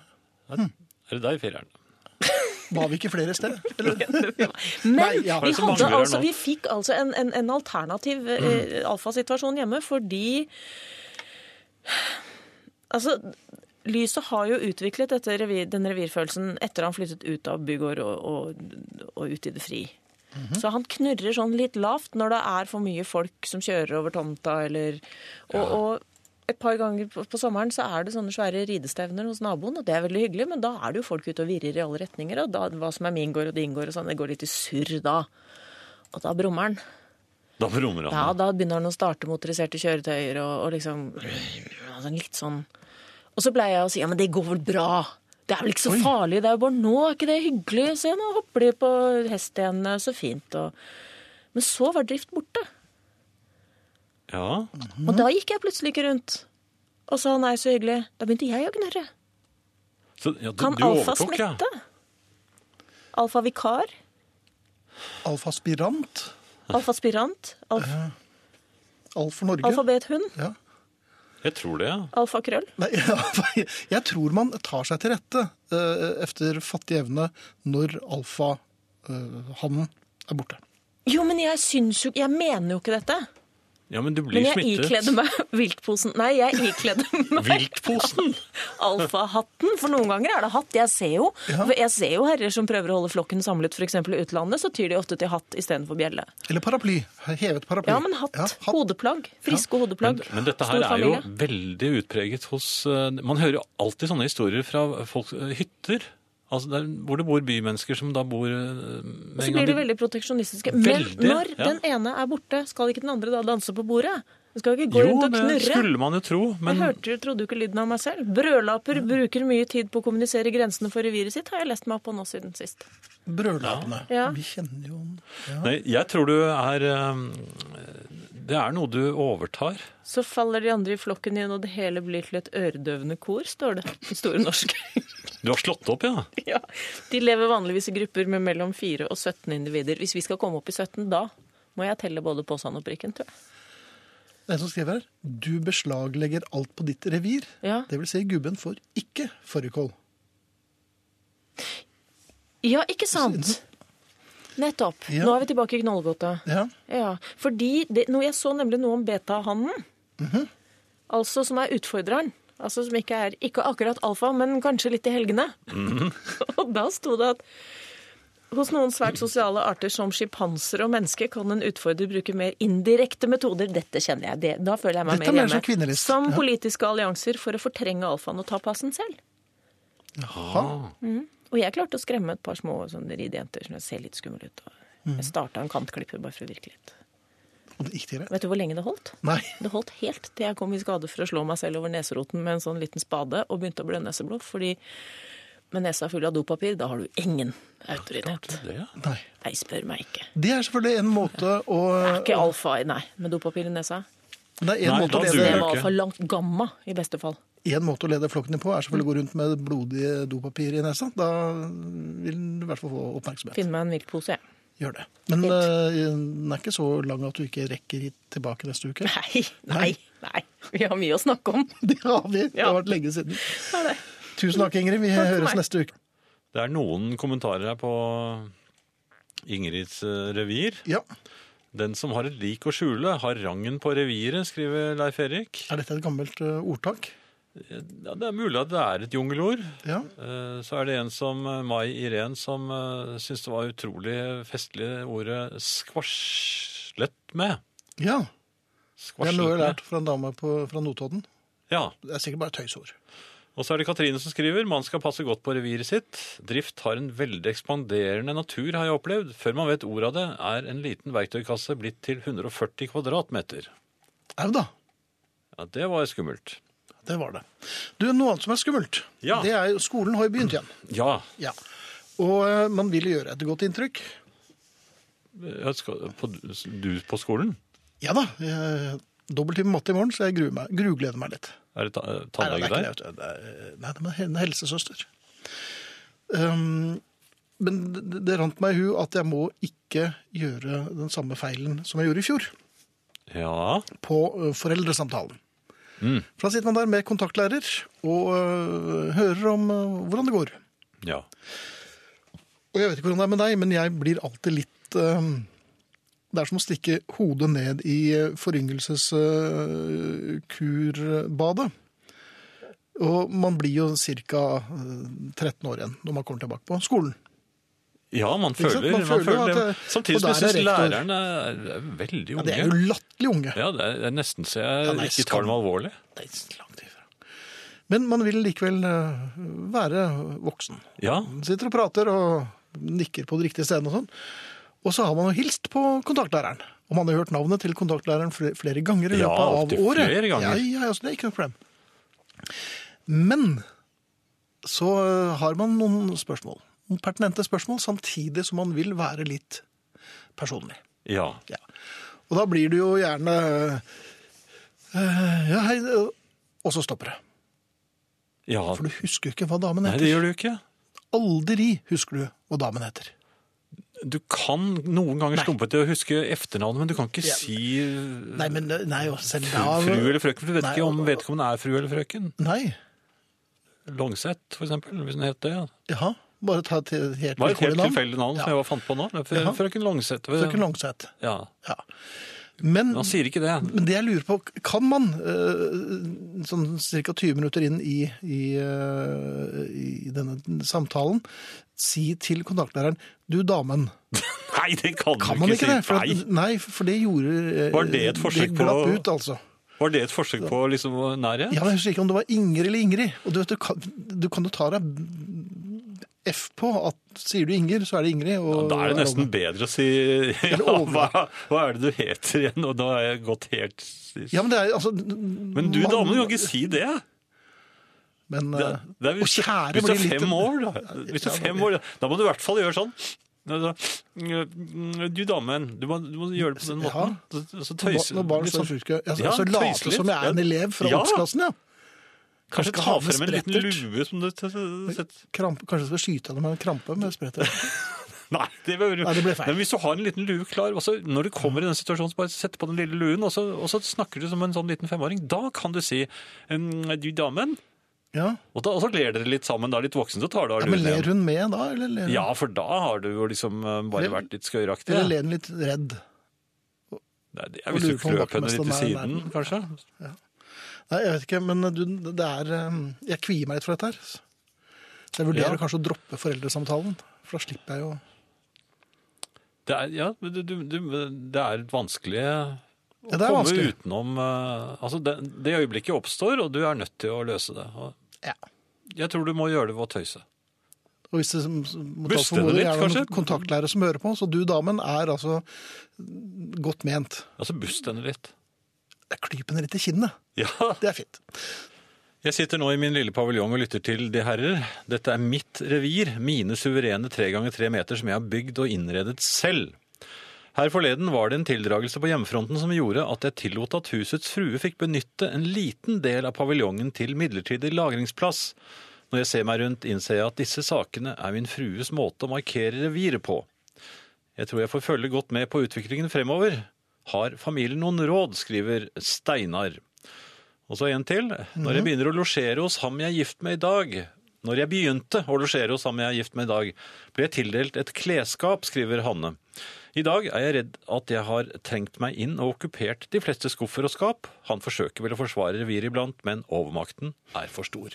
Speaker 2: er det deg, fireren.
Speaker 1: var vi ikke flere i sted? Eller?
Speaker 3: Men
Speaker 1: Nei, ja.
Speaker 2: Det
Speaker 3: vi,
Speaker 2: er så mange
Speaker 3: hadde
Speaker 2: her
Speaker 3: altså,
Speaker 2: nå. Mm.
Speaker 3: vi fikk altså en, en, en alternativ eh, alfasituasjon hjemme fordi Altså, Lyset har jo utviklet dette revir, den revirfølelsen etter han flyttet ut av bygård og, og, og ut i det fri. Så han knurrer sånn litt lavt når det er for mye folk som kjører over tomta eller Og, og et par ganger på, på sommeren så er det sånne svære ridestevner hos naboen, og det er veldig hyggelig, men da er det jo folk ute og virrer i alle retninger, og da, hva som er min gård og din gård og sånn, det går litt i surr da. Og da brummer han.
Speaker 2: Da brummer
Speaker 3: Ja,
Speaker 2: han.
Speaker 3: da begynner han å starte motoriserte kjøretøyer og, og liksom altså Litt sånn Og så pleier jeg å si ja, men det går vel bra. Det er vel ikke så farlig. Det er jo bare nå, er ikke det hyggelig? Se, nå hopper de på hest igjen, så fint. Og... Men så var drift borte.
Speaker 2: Ja. Mm.
Speaker 3: Og da gikk jeg plutselig ikke rundt. Og sa nei, så hyggelig. Da begynte jeg å gnurre.
Speaker 2: Så, ja, du,
Speaker 3: Kan
Speaker 2: du
Speaker 3: alfa
Speaker 2: overtok, ja.
Speaker 3: smitte? Alfa vikar?
Speaker 1: Alfaspirant.
Speaker 3: Alfa spirant? Alf...
Speaker 1: Alt for Norge.
Speaker 3: Alfabet hund?
Speaker 1: Ja.
Speaker 2: Jeg tror det, ja.
Speaker 3: Alfa krøll?
Speaker 1: Nei, ja, jeg tror man tar seg til rette eh, efter fattig evne når alfahannen eh, er borte.
Speaker 3: Jo, men jeg syns jo Jeg mener jo ikke dette.
Speaker 2: Ja, men du blir
Speaker 3: Men jeg
Speaker 2: smittet.
Speaker 3: ikledde meg viltposen Nei, jeg ikledde meg
Speaker 2: Viltposen!
Speaker 3: alfahatten. For noen ganger er det hatt. Jeg ser jo, for jeg ser jo herrer som prøver å holde flokken samlet, f.eks. i utlandet, så tyr de ofte til hatt istedenfor bjelle.
Speaker 1: Eller paraply. Hevet paraply.
Speaker 3: Ja, men hatt.
Speaker 1: Ja,
Speaker 3: Hodeplagg. Friske hodeplagg.
Speaker 2: Men dette her
Speaker 3: Stor
Speaker 2: er jo
Speaker 3: familie.
Speaker 2: veldig utpreget hos eh, Man hører jo alltid sånne historier fra folk, eh, hytter. Altså der, hvor det bor bymennesker som da bor eh, med
Speaker 3: Så
Speaker 2: en gang
Speaker 3: blir de
Speaker 2: de-
Speaker 3: veldig proteksjonistiske.
Speaker 2: Veldig,
Speaker 3: Men når
Speaker 2: ja.
Speaker 3: den ene er borte, skal ikke den andre da danse på bordet? Den skal jo ikke gå
Speaker 2: Jo,
Speaker 3: rundt og
Speaker 2: det
Speaker 3: knurre.
Speaker 2: skulle man jo tro, men
Speaker 3: Jeg hørte, jo- trodde jo ikke lyden av meg selv. Brødlaper bruker mye tid på å kommunisere grensene for reviret sitt, har jeg lest meg opp på nå siden sist.
Speaker 1: Brødlapene.
Speaker 3: Ja.
Speaker 1: Vi kjenner jo
Speaker 2: nei, jeg tror du er eh, Det er noe du overtar.
Speaker 3: Så faller de andre i flokken igjen, og det hele blir til et øredøvende kor, står det i Store norske.
Speaker 2: Du har slått opp, ja.
Speaker 3: ja. De lever vanligvis i grupper med mellom 4 og 17 individer. Hvis vi skal komme opp i 17, da må jeg telle både påsen og prikken, tror jeg.
Speaker 1: Det er en som skriver her Du beslaglegger alt på ditt revir.
Speaker 3: Ja.
Speaker 1: Det vil si, gubben får ikke fårikål.
Speaker 3: Ja, ikke sant? Nettopp.
Speaker 1: Ja.
Speaker 3: Nå er vi tilbake i knollgodtet.
Speaker 1: Ja.
Speaker 3: Ja, fordi det, noe- jeg så nemlig noe om betahannen, altså som er utfordreren. Altså som ikke er ikke akkurat alfa, men kanskje litt i helgene. og da sto det at hos noen svært sosiale arter som sjimpanser og mennesker kan en utfordrer bruke mer indirekte metoder. Dette kjenner jeg. Det, da føler jeg meg
Speaker 1: Dette er
Speaker 3: mer
Speaker 1: mer
Speaker 3: hjemme.
Speaker 1: som kvinnelist.
Speaker 3: som
Speaker 1: Ja.
Speaker 3: politiske allianser for å fortrenge alfaen og ta passen selv. Mhm. Og jeg klarte å skremme et par små sånne ridejenter som jeg ser litt skummel ut. Og jeg
Speaker 1: Mhm.
Speaker 3: starta en kantklipper bare for å virke litt.
Speaker 1: Og det gikk til det.
Speaker 3: Vet du hvor lenge det holdt?
Speaker 1: Nei.
Speaker 3: Det holdt helt til jeg kom i skade for å slå meg selv over neseroten med en sånn liten spade og begynte å blø neseblod, fordi med nesa full av dopapir, da har du ingen autoritet.
Speaker 2: Det, ja.
Speaker 1: Nei.
Speaker 3: Nei, spør meg ikke.
Speaker 1: Det er selvfølgelig en måte å
Speaker 3: Det er ikke alfa, nei, med dopapir i nesa.
Speaker 1: Det er en
Speaker 2: Nei,
Speaker 1: måte å
Speaker 2: da
Speaker 1: lede
Speaker 2: duger
Speaker 3: Det
Speaker 2: det
Speaker 3: var
Speaker 2: ikke.
Speaker 3: alfa langt gamma, i beste fall.
Speaker 1: En måte å lede flokken din på er selvfølgelig å gå rundt med blodig dopapir i nesa. Da vil den i hvert fall få oppmerksomhet.
Speaker 3: Finne meg en viltpose, jeg.
Speaker 1: Gjør det. Men
Speaker 3: Fint.
Speaker 1: eh, den er ikke så lang at du ikke rekker hit tilbake neste uke.
Speaker 3: Nei, nei, nei. Vi har mye å snakke om.
Speaker 1: Det har vi. Det
Speaker 3: Ja.
Speaker 1: har vært lenge siden.
Speaker 3: Det er det.
Speaker 1: Tusen takk, Ingrid. Vi
Speaker 3: for
Speaker 1: høres
Speaker 3: meg.
Speaker 1: neste uke.
Speaker 2: det er noen kommentarer her på Ingrids eh, revir.
Speaker 1: Ja.
Speaker 2: Den som har et lik å skjule, har rangen på reviret, skriver Leif Erik.
Speaker 1: Er dette et gammelt eh, ordtak?
Speaker 2: Ja, det er mulig at det er et jungelord.
Speaker 1: Ja.
Speaker 2: Eh, Så er det en som eh, Mai Irén som uh, syns det var utrolig festlig ordet skvarslet med.
Speaker 1: ja. Det er noe jeg har
Speaker 2: med.
Speaker 1: lært fra en dame på, fra Notodden.
Speaker 2: Ja.
Speaker 1: Det er sikkert bare tøysord.
Speaker 2: Og så er det Katrine som skriver man skal passe godt på reviret sitt. Drift har en veldig ekspanderende natur, har jeg opplevd. Før man vet ordet av det, er en liten verktøykasse blitt til 140 kvadratmeter.
Speaker 1: Au da.
Speaker 2: Ja, Det var skummelt.
Speaker 1: Det var det. Du, Noe annet som er skummelt,
Speaker 2: Ja.
Speaker 1: det er jo skolen har jo begynt igjen.
Speaker 2: Ja,
Speaker 1: Ja. Og eh, man vil jo gjøre et godt inntrykk.
Speaker 2: jeg skal, på, du på skolen?
Speaker 1: Ja da. jeg- Dobbelttime matte i morgen, så jeg gruer meg. grugleder meg litt.
Speaker 2: Er det ta- eh,
Speaker 1: Nei,
Speaker 2: tannlege
Speaker 1: det er
Speaker 2: der?
Speaker 1: ikke det, vet du. Det er- Nei, det er en helsesøster. Um, men det, det rant meg i hu at jeg må ikke gjøre den samme feilen som jeg gjorde i fjor,
Speaker 2: Ja.
Speaker 1: på ø, foreldresamtalen. For da sitter man der med kontaktlærer og ø, hører om ø, hvordan det går.
Speaker 2: ja.
Speaker 1: Og jeg vet ikke hvordan det er med deg, men jeg blir alltid litt eh, Det er som å stikke hodet ned eh, i forryngelseskurbadet. Og man blir jo ca. 13 år igjen når man kommer tilbake på skolen.
Speaker 2: Ja, man
Speaker 1: Ikke sant?
Speaker 2: føler,
Speaker 1: Man
Speaker 2: man
Speaker 1: føler
Speaker 2: føler
Speaker 1: at
Speaker 2: det.
Speaker 1: det-
Speaker 2: Samtidig
Speaker 1: og
Speaker 2: som
Speaker 1: der er
Speaker 2: jeg syns
Speaker 1: rektor-
Speaker 2: lærerne er er veldig
Speaker 1: Ja,
Speaker 2: unge.
Speaker 1: det er jo latterlig unge.
Speaker 2: Ja, det er, det er nesten så jeg
Speaker 1: nei,
Speaker 2: ikke
Speaker 1: skam.
Speaker 2: tar dem alvorlig.
Speaker 1: Det er langt ifra. Men man vil likevel eh, være voksen.
Speaker 2: Ja,
Speaker 1: Man sitter og prater og nikker på de riktige stedene og sånn. Og så har man jo hilst på kontaktlæreren. Og man har hørt navnet til kontaktlæreren fl- flere ganger i
Speaker 2: Ja,
Speaker 1: løpet av
Speaker 2: opptil
Speaker 1: året.
Speaker 2: flere ganger.
Speaker 1: Ja, ja, ja, så det er ikke noe problem. Men så eh, har man noen spørsmål. Noen Pertinente spørsmål, samtidig som man vil være litt personlig.
Speaker 2: ja.
Speaker 1: Ja. Og da blir du jo gjerne eh, Ja, hei eh, Og så stopper det.
Speaker 2: ja.
Speaker 1: For du husker jo ikke hva damen
Speaker 2: Nei,
Speaker 1: heter.
Speaker 2: det gjør du ikke.
Speaker 1: Aldri husker du hva damen heter.
Speaker 2: Du kan noen ganger stumpe til å huske efternavnet, men du kan ikke
Speaker 1: Ja.
Speaker 2: si
Speaker 1: Nei, men eh, nei, og selv da
Speaker 2: fru eller frøken. for Du vet
Speaker 1: Nei,
Speaker 2: ikke om
Speaker 1: og-
Speaker 2: vedkommende er fru eller frøken.
Speaker 1: Nei.
Speaker 2: Longseth, for eksempel, hvis hun het det. ja.
Speaker 1: Jaha. Bare ta til helt
Speaker 2: Det var et helt
Speaker 1: vilkårlig navn.
Speaker 2: tilfeldig navn som jeg bare fant på nå. Fr-
Speaker 1: Jaha.
Speaker 2: Frøken Longseth.
Speaker 1: Frøken Langseth.
Speaker 2: Ja.
Speaker 1: Ja. Men,
Speaker 2: Han sier ikke det.
Speaker 1: men det jeg lurer på, kan man eh, sånn ca. 20 minutter inn i, i, eh, i denne samtalen si til kontaktlæreren Du, damen.
Speaker 2: Nei, det kan,
Speaker 1: Kan
Speaker 2: du
Speaker 1: man ikke
Speaker 2: ikke, si.
Speaker 1: det? For, at-
Speaker 2: Nei.
Speaker 1: nei, for det gjorde eh,
Speaker 2: Var det et forsøk på
Speaker 1: glapp
Speaker 2: å-
Speaker 1: ut, altså.
Speaker 2: Var det et forsøk på liksom nærhet?
Speaker 1: Ja, men jeg husker ikke om det var Inger eller Ingrid. Og du vet, du kan, du kan jo ta deg F på at sier du Inger, så er det Ingrid. Og,
Speaker 2: Da er det nesten bedre å si ja,
Speaker 1: Olga.
Speaker 2: hva, hva er det du heter igjen? Og da har jeg gått helt
Speaker 1: Ja, men det er altså
Speaker 2: Men du,
Speaker 1: man-
Speaker 2: damen, kan ikke si det!
Speaker 1: Men
Speaker 2: det,
Speaker 1: eh,
Speaker 2: det er,
Speaker 1: og kjære
Speaker 2: hvis du er
Speaker 1: blir litt-
Speaker 2: fem år, da, hvis du
Speaker 1: Ja,
Speaker 2: er
Speaker 1: det
Speaker 2: fem
Speaker 1: blir-
Speaker 2: år, da må du i hvert fall gjøre sånn. mm, Du, damen, du må, du må gjøre det på den måten. Så, så tøyse
Speaker 1: Når barn
Speaker 2: litt
Speaker 1: står
Speaker 2: sånn.
Speaker 1: sjuke. Ja, så,
Speaker 2: Ja,
Speaker 1: så
Speaker 2: tøyse
Speaker 1: late
Speaker 2: litt.
Speaker 1: som jeg er en
Speaker 2: Ja.
Speaker 1: elev fra
Speaker 2: Ja.
Speaker 1: oppsklassen, ja. skal
Speaker 2: Kanskje ta
Speaker 1: ha med
Speaker 2: frem en liten
Speaker 1: sprettert.
Speaker 2: lue som du t- t- setter
Speaker 1: Kramp, kanskje jeg skal skyte henne med en krampe med spretter.
Speaker 2: Nei, det, bør,
Speaker 1: Nei, det ble feil.
Speaker 2: Men hvis du har en liten lue klar altså, Når du kommer i den situasjonen, så bare sett på den lille luen, og så, og så snakker du som en sånn liten femåring. Da kan du si «Mm, 'du, damen',
Speaker 1: Ja.
Speaker 2: og, da, og så ler dere litt sammen. Da er litt voksen, så tar du av
Speaker 1: ja,
Speaker 2: luen
Speaker 1: Men ler
Speaker 2: igjen.
Speaker 1: hun med da, eller ler hun?
Speaker 2: Ja, for da har du jo liksom eh, bare
Speaker 1: Eller-
Speaker 2: vært litt skøyeraktig.
Speaker 1: Eller ler hun litt redd?
Speaker 2: Nei, det
Speaker 1: Og
Speaker 2: er hvis du
Speaker 1: lurer på om
Speaker 2: kløp henne litt i
Speaker 1: vaktmesteren er
Speaker 2: siden,
Speaker 1: nær.
Speaker 2: kanskje.
Speaker 1: Nei, jeg vet ikke, men du, det er eh, Jeg kvier meg litt for dette her. Så jeg vurderer
Speaker 2: Ja.
Speaker 1: kanskje å droppe foreldresamtalen. For da slipper jeg jo
Speaker 2: Det er, ja, men du, du, du, det er vanskelig å
Speaker 1: Ja, det er
Speaker 2: komme
Speaker 1: vanskelig.
Speaker 2: utenom eh, altså det, det øyeblikket oppstår, og du er nødt til å løse det. Og
Speaker 1: Ja.
Speaker 2: Jeg tror du må gjøre det ved å tøyse.
Speaker 1: Og hvis det som- som- mot alt
Speaker 2: Buste det
Speaker 1: formodning
Speaker 2: litt,
Speaker 1: er noen
Speaker 2: kanskje?
Speaker 1: kontaktlærere som hører på, så du, damen, er altså godt ment.
Speaker 2: Altså, bust henne litt.
Speaker 1: Jeg klyper henne litt i kinnet.
Speaker 2: Ja,
Speaker 1: Det er fint.
Speaker 2: Jeg sitter nå i min lille paviljong og lytter til De herrer. Dette er mitt revir, mine suverene tre ganger tre meter som jeg har bygd og innredet selv. Her forleden var det en tildragelse på hjemmefronten som gjorde at jeg tillot at husets frue fikk benytte en liten del av paviljongen til midlertidig lagringsplass. Når jeg ser meg rundt, innser jeg at disse sakene er min frues måte å markere reviret på. Jeg tror jeg får følge godt med på utviklingen fremover. Har familien noen råd, skriver Steinar. Og så en til. Når
Speaker 1: Mhm.
Speaker 2: jeg begynner å losjere hos ham jeg er gift med i dag Når jeg begynte å losjere hos ham jeg er gift med i dag, ble jeg tildelt et klesskap, skriver Hanne. I dag er jeg redd at jeg har trengt meg inn og okkupert de fleste skuffer og skap. Han forsøker vel å forsvare reviret iblant, men overmakten er for stor.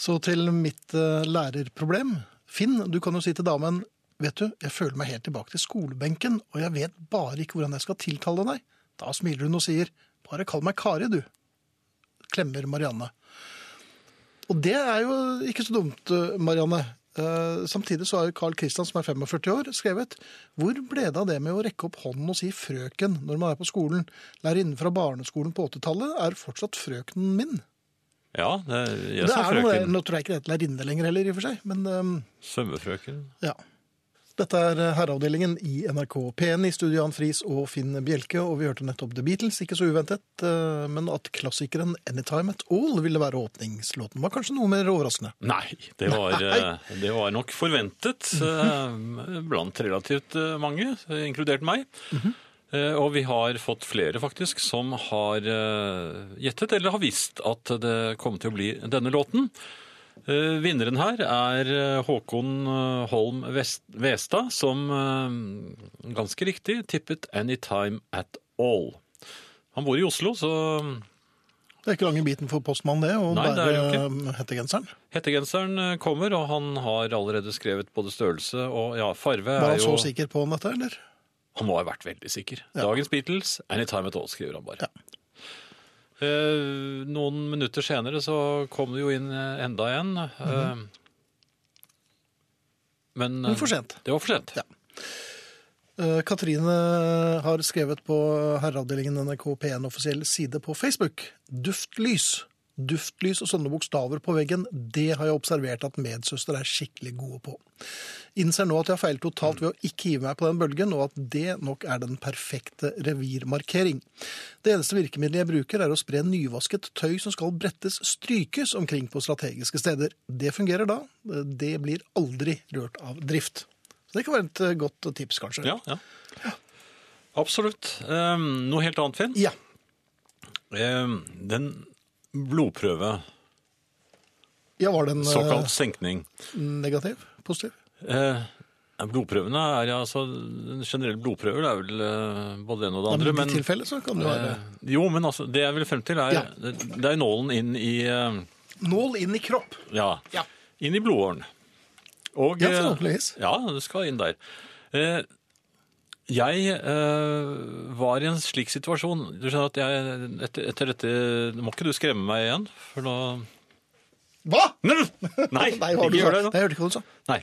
Speaker 1: Så til mitt eh, lærerproblem. Finn, du kan jo si til damen Vet du, jeg føler meg helt tilbake til skolebenken, og jeg vet bare ikke hvordan jeg skal tiltale deg. Da smiler hun og sier Bare kall meg Kari, du. Klemmer Marianne. Og det er jo ikke så dumt, Marianne. Eh, Samtidig så har jo Carl Christian, som er 45 år, skrevet Hvor ble det av det med å rekke opp hånden og si 'frøken' når man er på skolen? Lærerinnen fra barneskolen på 80-tallet er fortsatt frøkenen min.
Speaker 2: Ja, det, jeg
Speaker 1: Det
Speaker 2: sa
Speaker 1: er noe, der-
Speaker 2: frøken.
Speaker 1: nå tror jeg ikke det heter lærerinne lenger heller, i og for seg. Men ehm,
Speaker 2: Svømmefrøken.
Speaker 1: ja. Dette er eh, Herreavdelingen i NRK P1 i studio Jan Friis og Finn Bjelke. Og vi hørte nettopp The Beatles, ikke så uventet. eh, Men at klassikeren 'Anytime At All' ville være åpningslåten, var kanskje noe mer overraskende.
Speaker 2: Nei, det var, eh, det var nok forventet eh, blant relativt eh, mange, eh, inkludert meg. Eh, Og vi har fått flere faktisk som har eh, gjettet eller har visst at det kom til å bli denne låten. Eh, Vinneren her er eh, Håkon eh, Holm Vest Vestad, som eh, ganske riktig tippet 'Anytime At All'. Han bor i Oslo, så
Speaker 1: Det er ikke lange biten for postmannen, det, å
Speaker 2: Nei, det er det jo
Speaker 1: bære eh, hettegenseren.
Speaker 2: Hettegenseren eh, kommer, og han har allerede skrevet både størrelse og ja, farve.
Speaker 1: Var
Speaker 2: er
Speaker 1: han
Speaker 2: jo,
Speaker 1: så sikker på dette, eller?
Speaker 2: Han må ha vært veldig sikker. Dagens Beatles, anytime at all, skriver han bare.
Speaker 1: Ja.
Speaker 2: Eh, noen minutter senere så kom det jo inn eh, enda en. eh, men eh,
Speaker 1: Men Mhm. for sent.
Speaker 2: Det var for sent.
Speaker 1: Ja. Eh, Katrine har skrevet på herreavdelingen NRK P1 offisiell side på Facebook. Duftlys. Duftlys og sånne bokstaver på veggen, det har jeg observert at medsøster er skikkelig gode på. Innser nå at jeg har feilet totalt ved å ikke hive meg på den bølgen, og at det nok er den perfekte revirmarkering. Det eneste virkemidlet jeg bruker er å spre nyvasket tøy som skal brettes, strykes omkring på strategiske steder. Det fungerer da. Det blir aldri rørt av drift. Så det kan være et eh, godt tips, kanskje.
Speaker 2: Ja, ja. Absolutt. Eh, noe helt annet, Finn.
Speaker 1: Ja.
Speaker 2: Eh, den blodprøve,
Speaker 1: Ja, var den eh,
Speaker 2: såkalt senkning.
Speaker 1: negativ? Positiv?
Speaker 2: Eh, ja, blodprøvene er ja, altså, en generell blodprøve det er vel eh, både det ene og det andre.
Speaker 1: Ja, men I
Speaker 2: men,
Speaker 1: tilfelle så kan det være
Speaker 2: eh, jo, men altså, det jeg vil frem til, er,
Speaker 1: Ja.
Speaker 2: det, det er nålen inn i, eh,
Speaker 1: Nål inn i kropp.
Speaker 2: ja,
Speaker 1: Ja.
Speaker 2: inn i blodåren. Og,
Speaker 1: Ja,
Speaker 2: eh,
Speaker 1: forhåpentligvis.
Speaker 2: Ja, det skal inn der. Eh, jeg eh, var i en slik situasjon. Du skjønner at jeg, etter, etter dette, nå må ikke du skremme meg igjen, for nå...
Speaker 1: Hva?!
Speaker 2: Nei, nei
Speaker 1: Nei, hva har du
Speaker 2: ikke gjør det
Speaker 1: sagt? Nei, jeg
Speaker 2: nå.
Speaker 1: hørte ikke hva du sa.
Speaker 2: Nei.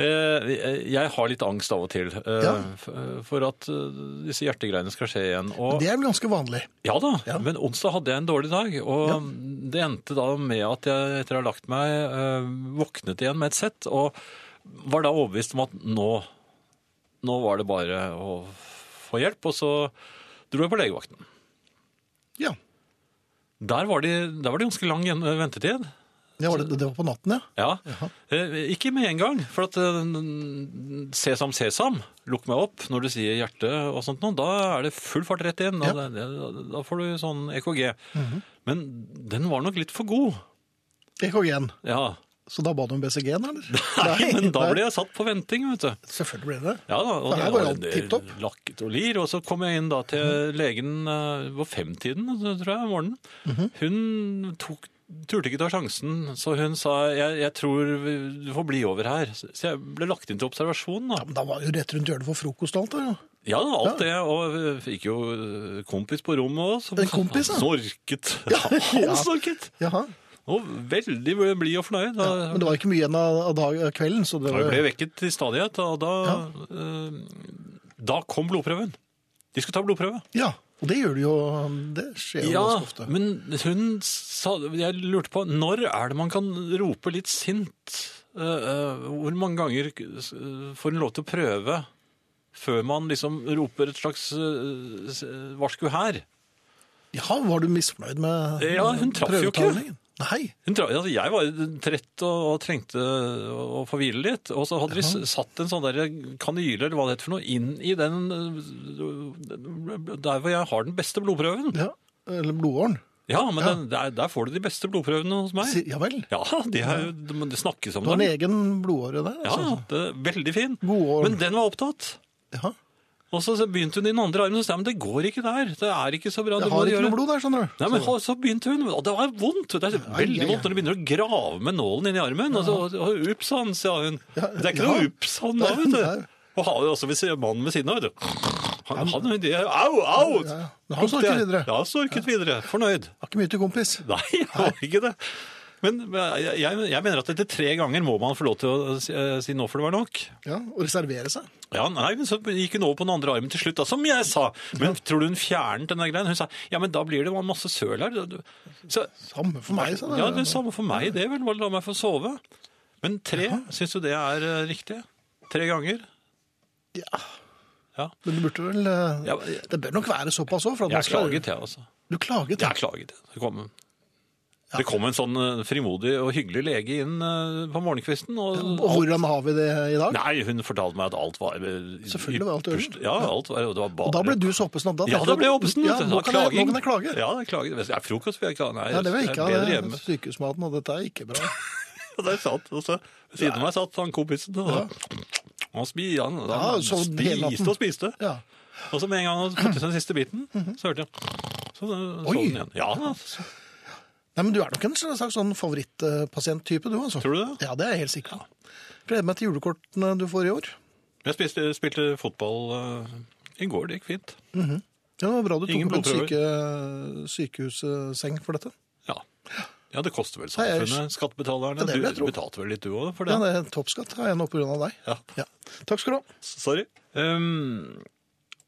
Speaker 2: Eh, jeg har litt angst av og til eh,
Speaker 1: Ja.
Speaker 2: f- for at eh, disse hjertegreiene skal skje igjen. Og,
Speaker 1: Det er vel ganske vanlig.
Speaker 2: ja da,
Speaker 1: Ja.
Speaker 2: men onsdag hadde jeg en dårlig dag, og det endte da med at jeg etter å ha lagt meg eh, våknet igjen med et sett, og var da overbevist om at nå, nå var det bare å få hjelp, og så dro jeg på legevakten.
Speaker 1: Ja.
Speaker 2: Der var det, der var det ganske lang gjen- ventetid.
Speaker 1: Det var, det, det var på natten, ja.
Speaker 2: Ja. Eh, ikke med en gang, for at eh, n- sesam, sesam, lukk meg opp når du sier hjerte og sånt noe, da er det full fart rett inn.
Speaker 1: Ja. Mhm.
Speaker 2: Da, da, da får du sånn EKG. Men den var nok litt for god.
Speaker 1: EKG-en.
Speaker 2: Ja.
Speaker 1: Så da ba du om BCG-en, eller?
Speaker 2: Nei, men da
Speaker 1: nei.
Speaker 2: ble jeg satt på venting, vet du.
Speaker 1: Selvfølgelig ble det det.
Speaker 2: Ja da, og
Speaker 1: For her
Speaker 2: det
Speaker 1: var
Speaker 2: var
Speaker 1: alt
Speaker 2: en-
Speaker 1: tipp-topp.
Speaker 2: lakket og lir, og så kom jeg inn da til legen eh, på femtiden, så tror jeg, om morgenen.
Speaker 1: Mhm.
Speaker 2: Hun tok, turte ikke ta sjansen, så hun sa, jeg, jeg tror vi- du får bli over her. Så jeg ble lagt inn til observasjon da.
Speaker 1: Ja, men da var jo rett rundt hjørnet for frokost og alt, da. Ja.
Speaker 2: Ja, da, alt det, og vi fikk jo eh, kompis på rommet også.
Speaker 1: En kompis, ja.
Speaker 2: Han snorket. Han
Speaker 1: ja.
Speaker 2: snorket!
Speaker 1: Jaha.
Speaker 2: Og veldig blid og fornøyd. Da,
Speaker 1: Men det var ikke mye igjen av, av dag, av kvelden, så det
Speaker 2: da vi
Speaker 1: var
Speaker 2: Eh. ble vekket til stadighet, og da, eh, da kom blodprøven. De skulle ta blodprøve.
Speaker 1: Ja. Og det gjør du jo Det skjer jo
Speaker 2: Ja,
Speaker 1: ganske ofte.
Speaker 2: men hun sa Jeg lurte på når er det man kan rope litt sint? Eh, eh, hvor mange ganger eh, får hun lov til å prøve før man liksom roper et slags eh, s- eh, varsku her?
Speaker 1: Ja, var du misfornøyd med
Speaker 2: Ja, hun traff jo ikke.
Speaker 1: prøvebetalingen? Nei.
Speaker 2: Hun tra- altså, jeg var trett og, og trengte å få hvile litt. Og så hadde de s- satt en sånn der kanyle eller hva det heter for noe, inn i den eh, Der hvor jeg har den beste blodprøven.
Speaker 1: Ja. Eller blodåren.
Speaker 2: Ja, men Den, der, der får du de beste blodprøvene hos meg.
Speaker 1: Si- Ja vel.
Speaker 2: Ja, det, er, jo- det- men det snakkes om
Speaker 1: Du har en
Speaker 2: den.
Speaker 1: egen blodåre der?
Speaker 2: Ja,
Speaker 1: altså.
Speaker 2: det er veldig fin.
Speaker 1: God år.
Speaker 2: Men den var opptatt.
Speaker 1: ja.
Speaker 2: Og så så begynte hun i den andre armen og sa, men det går ikke der. Det er ikke så bra.
Speaker 1: Jeg
Speaker 2: du må
Speaker 1: har ikke
Speaker 2: gjøre-
Speaker 1: noe blod der, skjønner du.
Speaker 2: Nei, men ha- så begynte hun, og det var vondt. Det er veldig
Speaker 1: ja, ja.
Speaker 2: vondt når du begynner å grave med nålen inn i armen. Og så, og, ups han, sa hun. Det er ikke
Speaker 1: ja.
Speaker 2: noe ups han da, vet
Speaker 1: Nei.
Speaker 2: du. Og har jo også ved siden- mannen ved siden av, vet du. Han, han, det, au, au!
Speaker 1: ja. Men han snorket videre.
Speaker 2: Ja, han snorket videre. Fornøyd.
Speaker 1: Har ikke mye til kompis.
Speaker 2: Nei, jeg var ikke det. Men jeg, jeg, jeg mener at etter tre ganger må man få lov til å si, eh, si nå får det være nok.
Speaker 1: Ja, Og reservere seg.
Speaker 2: Ja, nei, men så gikk hun over på den andre armen til slutt, da, som jeg sa. Men tror du hun fjernet den der greien? Hun sa ja, men da blir det masse søl her. Så,
Speaker 1: Samme for meg, sa det.
Speaker 2: ja, det er samme for meg, det vel. Bare la meg få sove. Men tre, syns du det er eh, riktig? Tre ganger?
Speaker 1: Ja.
Speaker 2: Ja.
Speaker 1: Men du burde vel eh,
Speaker 2: Ja, men-
Speaker 1: Det bør nok være såpass òg.
Speaker 2: Jeg klaget, jeg, altså.
Speaker 1: Du klaget, ja.
Speaker 2: Jeg klaget. jeg. Det kom, det kom en sånn eh, frimodig og hyggelig lege inn eh, på morgenkvisten. Og,
Speaker 1: Og hvordan har vi det i dag?
Speaker 2: Nei, hun fortalte meg at alt var eh, Selvfølgelig
Speaker 1: var alt i orden.
Speaker 2: Ja, alt var, og det var bare...
Speaker 1: Og da ble du så oppesen at da
Speaker 2: Ja,
Speaker 1: tenkte
Speaker 2: da
Speaker 1: du-
Speaker 2: ble jeg oppesen.
Speaker 1: Ja,
Speaker 2: vet du.
Speaker 1: nå,
Speaker 2: Da
Speaker 1: kan jeg, nå
Speaker 2: klaging.
Speaker 1: kan jeg klage.
Speaker 2: Ja, jeg klaget. Det er frokost vil jeg ikke ha. Nei,
Speaker 1: Nei, det vil jeg
Speaker 2: jeg
Speaker 1: ikke
Speaker 2: er bedre
Speaker 1: ha.
Speaker 2: hjemme.
Speaker 1: det- Sykehusmaten og dette er ikke bra.
Speaker 2: Og der satt, og så ved siden av meg satt han kompisen, og han, spi, han,
Speaker 1: Ja,
Speaker 2: han
Speaker 1: så hele natten.
Speaker 2: spiste og spiste.
Speaker 1: Ja.
Speaker 2: Og så med en gang han hadde fått i seg den siste biten, så hørte jeg... Så
Speaker 1: Mhm. Oi.
Speaker 2: sov den igjen. Ja, da.
Speaker 1: Nei, men Du er nok en slags sånn favorittpasienttype, du. altså.
Speaker 2: Tror du det?
Speaker 1: Ja, det er jeg helt sikker på. Gleder meg til julekortene eh, du får i år.
Speaker 2: Jeg spiste, spilte fotball eh, i går, det gikk fint.
Speaker 1: Ja, Det var bra du tok
Speaker 2: Ingen
Speaker 1: opp en
Speaker 2: blodprøver.
Speaker 1: syke, sykehusseng for dette.
Speaker 2: Ja. ja, det koster vel
Speaker 1: Nei, jeg-
Speaker 2: samfunnet, skattebetalerne.
Speaker 1: Ja, det vil jeg
Speaker 2: du
Speaker 1: tro.
Speaker 2: betalte vel litt du òg for
Speaker 1: Ja,
Speaker 2: det?
Speaker 1: det er Toppskatt har jeg nå pga. deg.
Speaker 2: Ja.
Speaker 1: Ja. Takk skal du ha.
Speaker 2: Sorry. Um,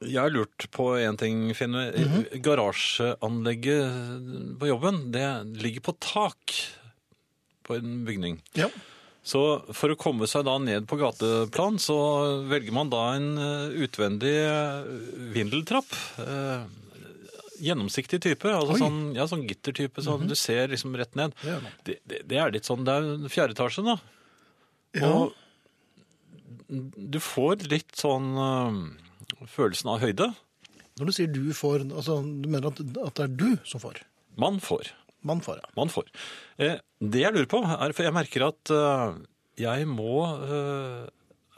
Speaker 2: jeg har lurt på en ting, Finn.
Speaker 1: Mhm.
Speaker 2: Garasjeanlegget eh, på jobben, det ligger på tak på en bygning.
Speaker 1: Ja.
Speaker 2: Så for å komme seg da ned på gateplan, så velger man da en eh, utvendig eh, vindeltrapp. Eh, Gjennomsiktig type, altså
Speaker 1: Oi. Mhm.
Speaker 2: sånn, ja, sånn gittertype, sånn du ser liksom rett ned.
Speaker 1: Det gjør man.
Speaker 2: Det, det, det er litt sånn, det er jo fjerde etasje da. Og du får litt sånn eh, følelsen av høyde.
Speaker 1: Når du sier du får, altså du mener at, at det er du som får.
Speaker 2: Man får.
Speaker 1: Man får, ja.
Speaker 2: man får. Eh, det jeg lurer på, er for jeg merker at eh, jeg må eh,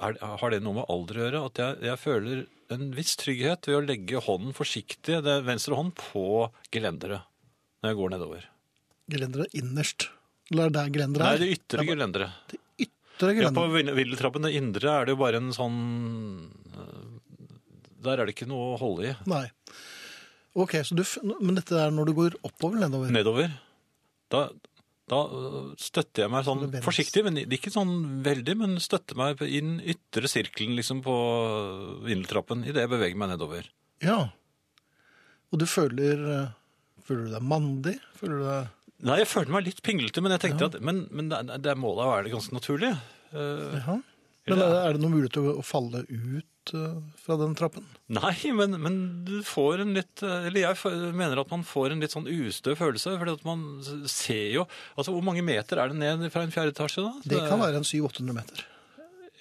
Speaker 2: er, Har det noe med alder å gjøre? At jeg, jeg føler en viss trygghet ved å legge hånden forsiktig, det er venstre hånd, på gelenderet når jeg går nedover.
Speaker 1: Gelenderet innerst. Eller er det der gelenderet
Speaker 2: Nei,
Speaker 1: er?
Speaker 2: det ytre gelenderet.
Speaker 1: det ytre
Speaker 2: Ja, på
Speaker 1: gelenderet.
Speaker 2: vill- Villetrappen, det indre, er det jo bare en sånn eh, Der er det ikke noe å holde i.
Speaker 1: Nei. Ok, så du, f- men dette er når du går oppover eller nedover?
Speaker 2: Nedover. Da, da øh, støtter jeg meg sånn
Speaker 1: Så det venst-
Speaker 2: forsiktig, men ikke sånn veldig, men støtter meg i den ytre sirkelen liksom på vindeltrappen idet jeg beveger meg nedover.
Speaker 1: Ja. Og du føler, eh, føler du deg mandig? Føler du deg...
Speaker 2: Nei, jeg følte meg litt pinglete, men jeg tenkte at men, men det, det må da være ganske naturlig. Eh,
Speaker 1: Ja. Men er, er det noe mulighet til å, å falle ut eh, fra den trappen?
Speaker 2: nei, men, men du får en litt eh, Eller jeg f- mener at man får en litt sånn ustø følelse, fordi at man ser jo Altså, hvor mange meter er det ned fra en fjerde etasje, da?
Speaker 1: Det kan være en 700-800 meter.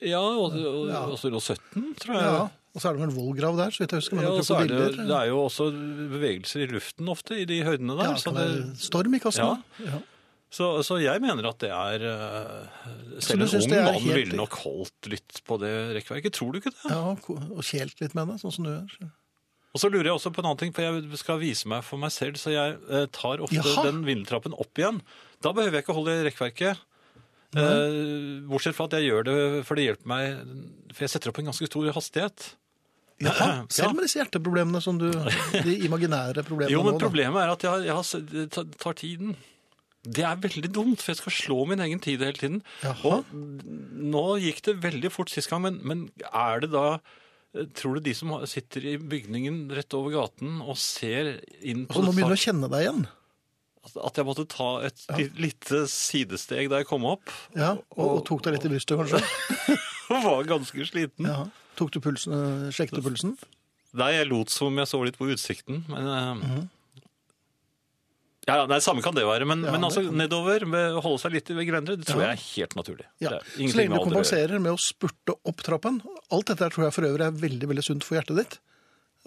Speaker 2: Ja, og, og,
Speaker 1: Ja.
Speaker 2: og, og 17, tror jeg.
Speaker 1: Ja. Og så er det vel en vollgrav der, så vidt jeg husker. med
Speaker 2: Ja,
Speaker 1: noen
Speaker 2: og så er det,
Speaker 1: krokodiller.
Speaker 2: det er jo også bevegelser i luften ofte i de høydene
Speaker 1: Ja,
Speaker 2: der.
Speaker 1: det
Speaker 2: så,
Speaker 1: kan
Speaker 2: det,
Speaker 1: være storm i kassen.
Speaker 2: Ja.
Speaker 1: da. Ja.
Speaker 2: så, så jeg mener at det er eh,
Speaker 1: du
Speaker 2: Selv en
Speaker 1: synes
Speaker 2: ung
Speaker 1: det er
Speaker 2: mann
Speaker 1: helt-
Speaker 2: ville nok holdt litt på det rekkverket. Tror du ikke det?
Speaker 1: Ja, og ko- og kjelt litt med henne, sånn som du gjør.
Speaker 2: Og så lurer jeg også på en annen ting, for jeg skal vise meg for meg selv, så jeg eh, tar ofte
Speaker 1: Jaha.
Speaker 2: den vindeltrappen opp igjen. Da behøver jeg ikke holde i rekkverket. Eh, bortsett fra at jeg gjør det, for det hjelper meg For jeg setter opp en ganske stor hastighet.
Speaker 1: Jaha,
Speaker 2: Ja.
Speaker 1: selv med disse hjerteproblemene som du De imaginære problemene
Speaker 2: Jo, men
Speaker 1: nå, da.
Speaker 2: problemet er at jeg, jeg har, s- det ta- tar tiden. Det er veldig dumt, for jeg skal slå min egen tid hele tiden.
Speaker 1: Jaha.
Speaker 2: Og nå gikk det veldig fort sist gang, men, men er det da eh, Tror du de som har- sitter i bygningen rett over gaten og ser inn på
Speaker 1: Altså, nå begynner du å
Speaker 2: tak-
Speaker 1: kjenne deg igjen.
Speaker 2: At jeg måtte ta et li- lite sidesteg da jeg kom opp?
Speaker 1: Ja, og, og tok deg litt i brystet, kanskje.
Speaker 2: Og var ganske sliten.
Speaker 1: Ja. Tok du pulsen, eh, sjekket du pulsen?
Speaker 2: Nei, jeg lot som jeg så litt på utsikten, men eh,
Speaker 1: Mhm.
Speaker 2: ja, ja, nei, Samme kan det være, men,
Speaker 1: Ja,
Speaker 2: men
Speaker 1: det
Speaker 2: altså,
Speaker 1: kan-
Speaker 2: nedover, med, å holde seg litt ved gelenderet, det tror
Speaker 1: Ja.
Speaker 2: jeg er helt naturlig.
Speaker 1: Ja.
Speaker 2: Det er
Speaker 1: Så
Speaker 2: ingenting
Speaker 1: lenge du
Speaker 2: med alder å gjøre.
Speaker 1: kompenserer med å spurte opp trappen. Alt dette her tror jeg for øvrig er veldig veldig sunt for hjertet ditt.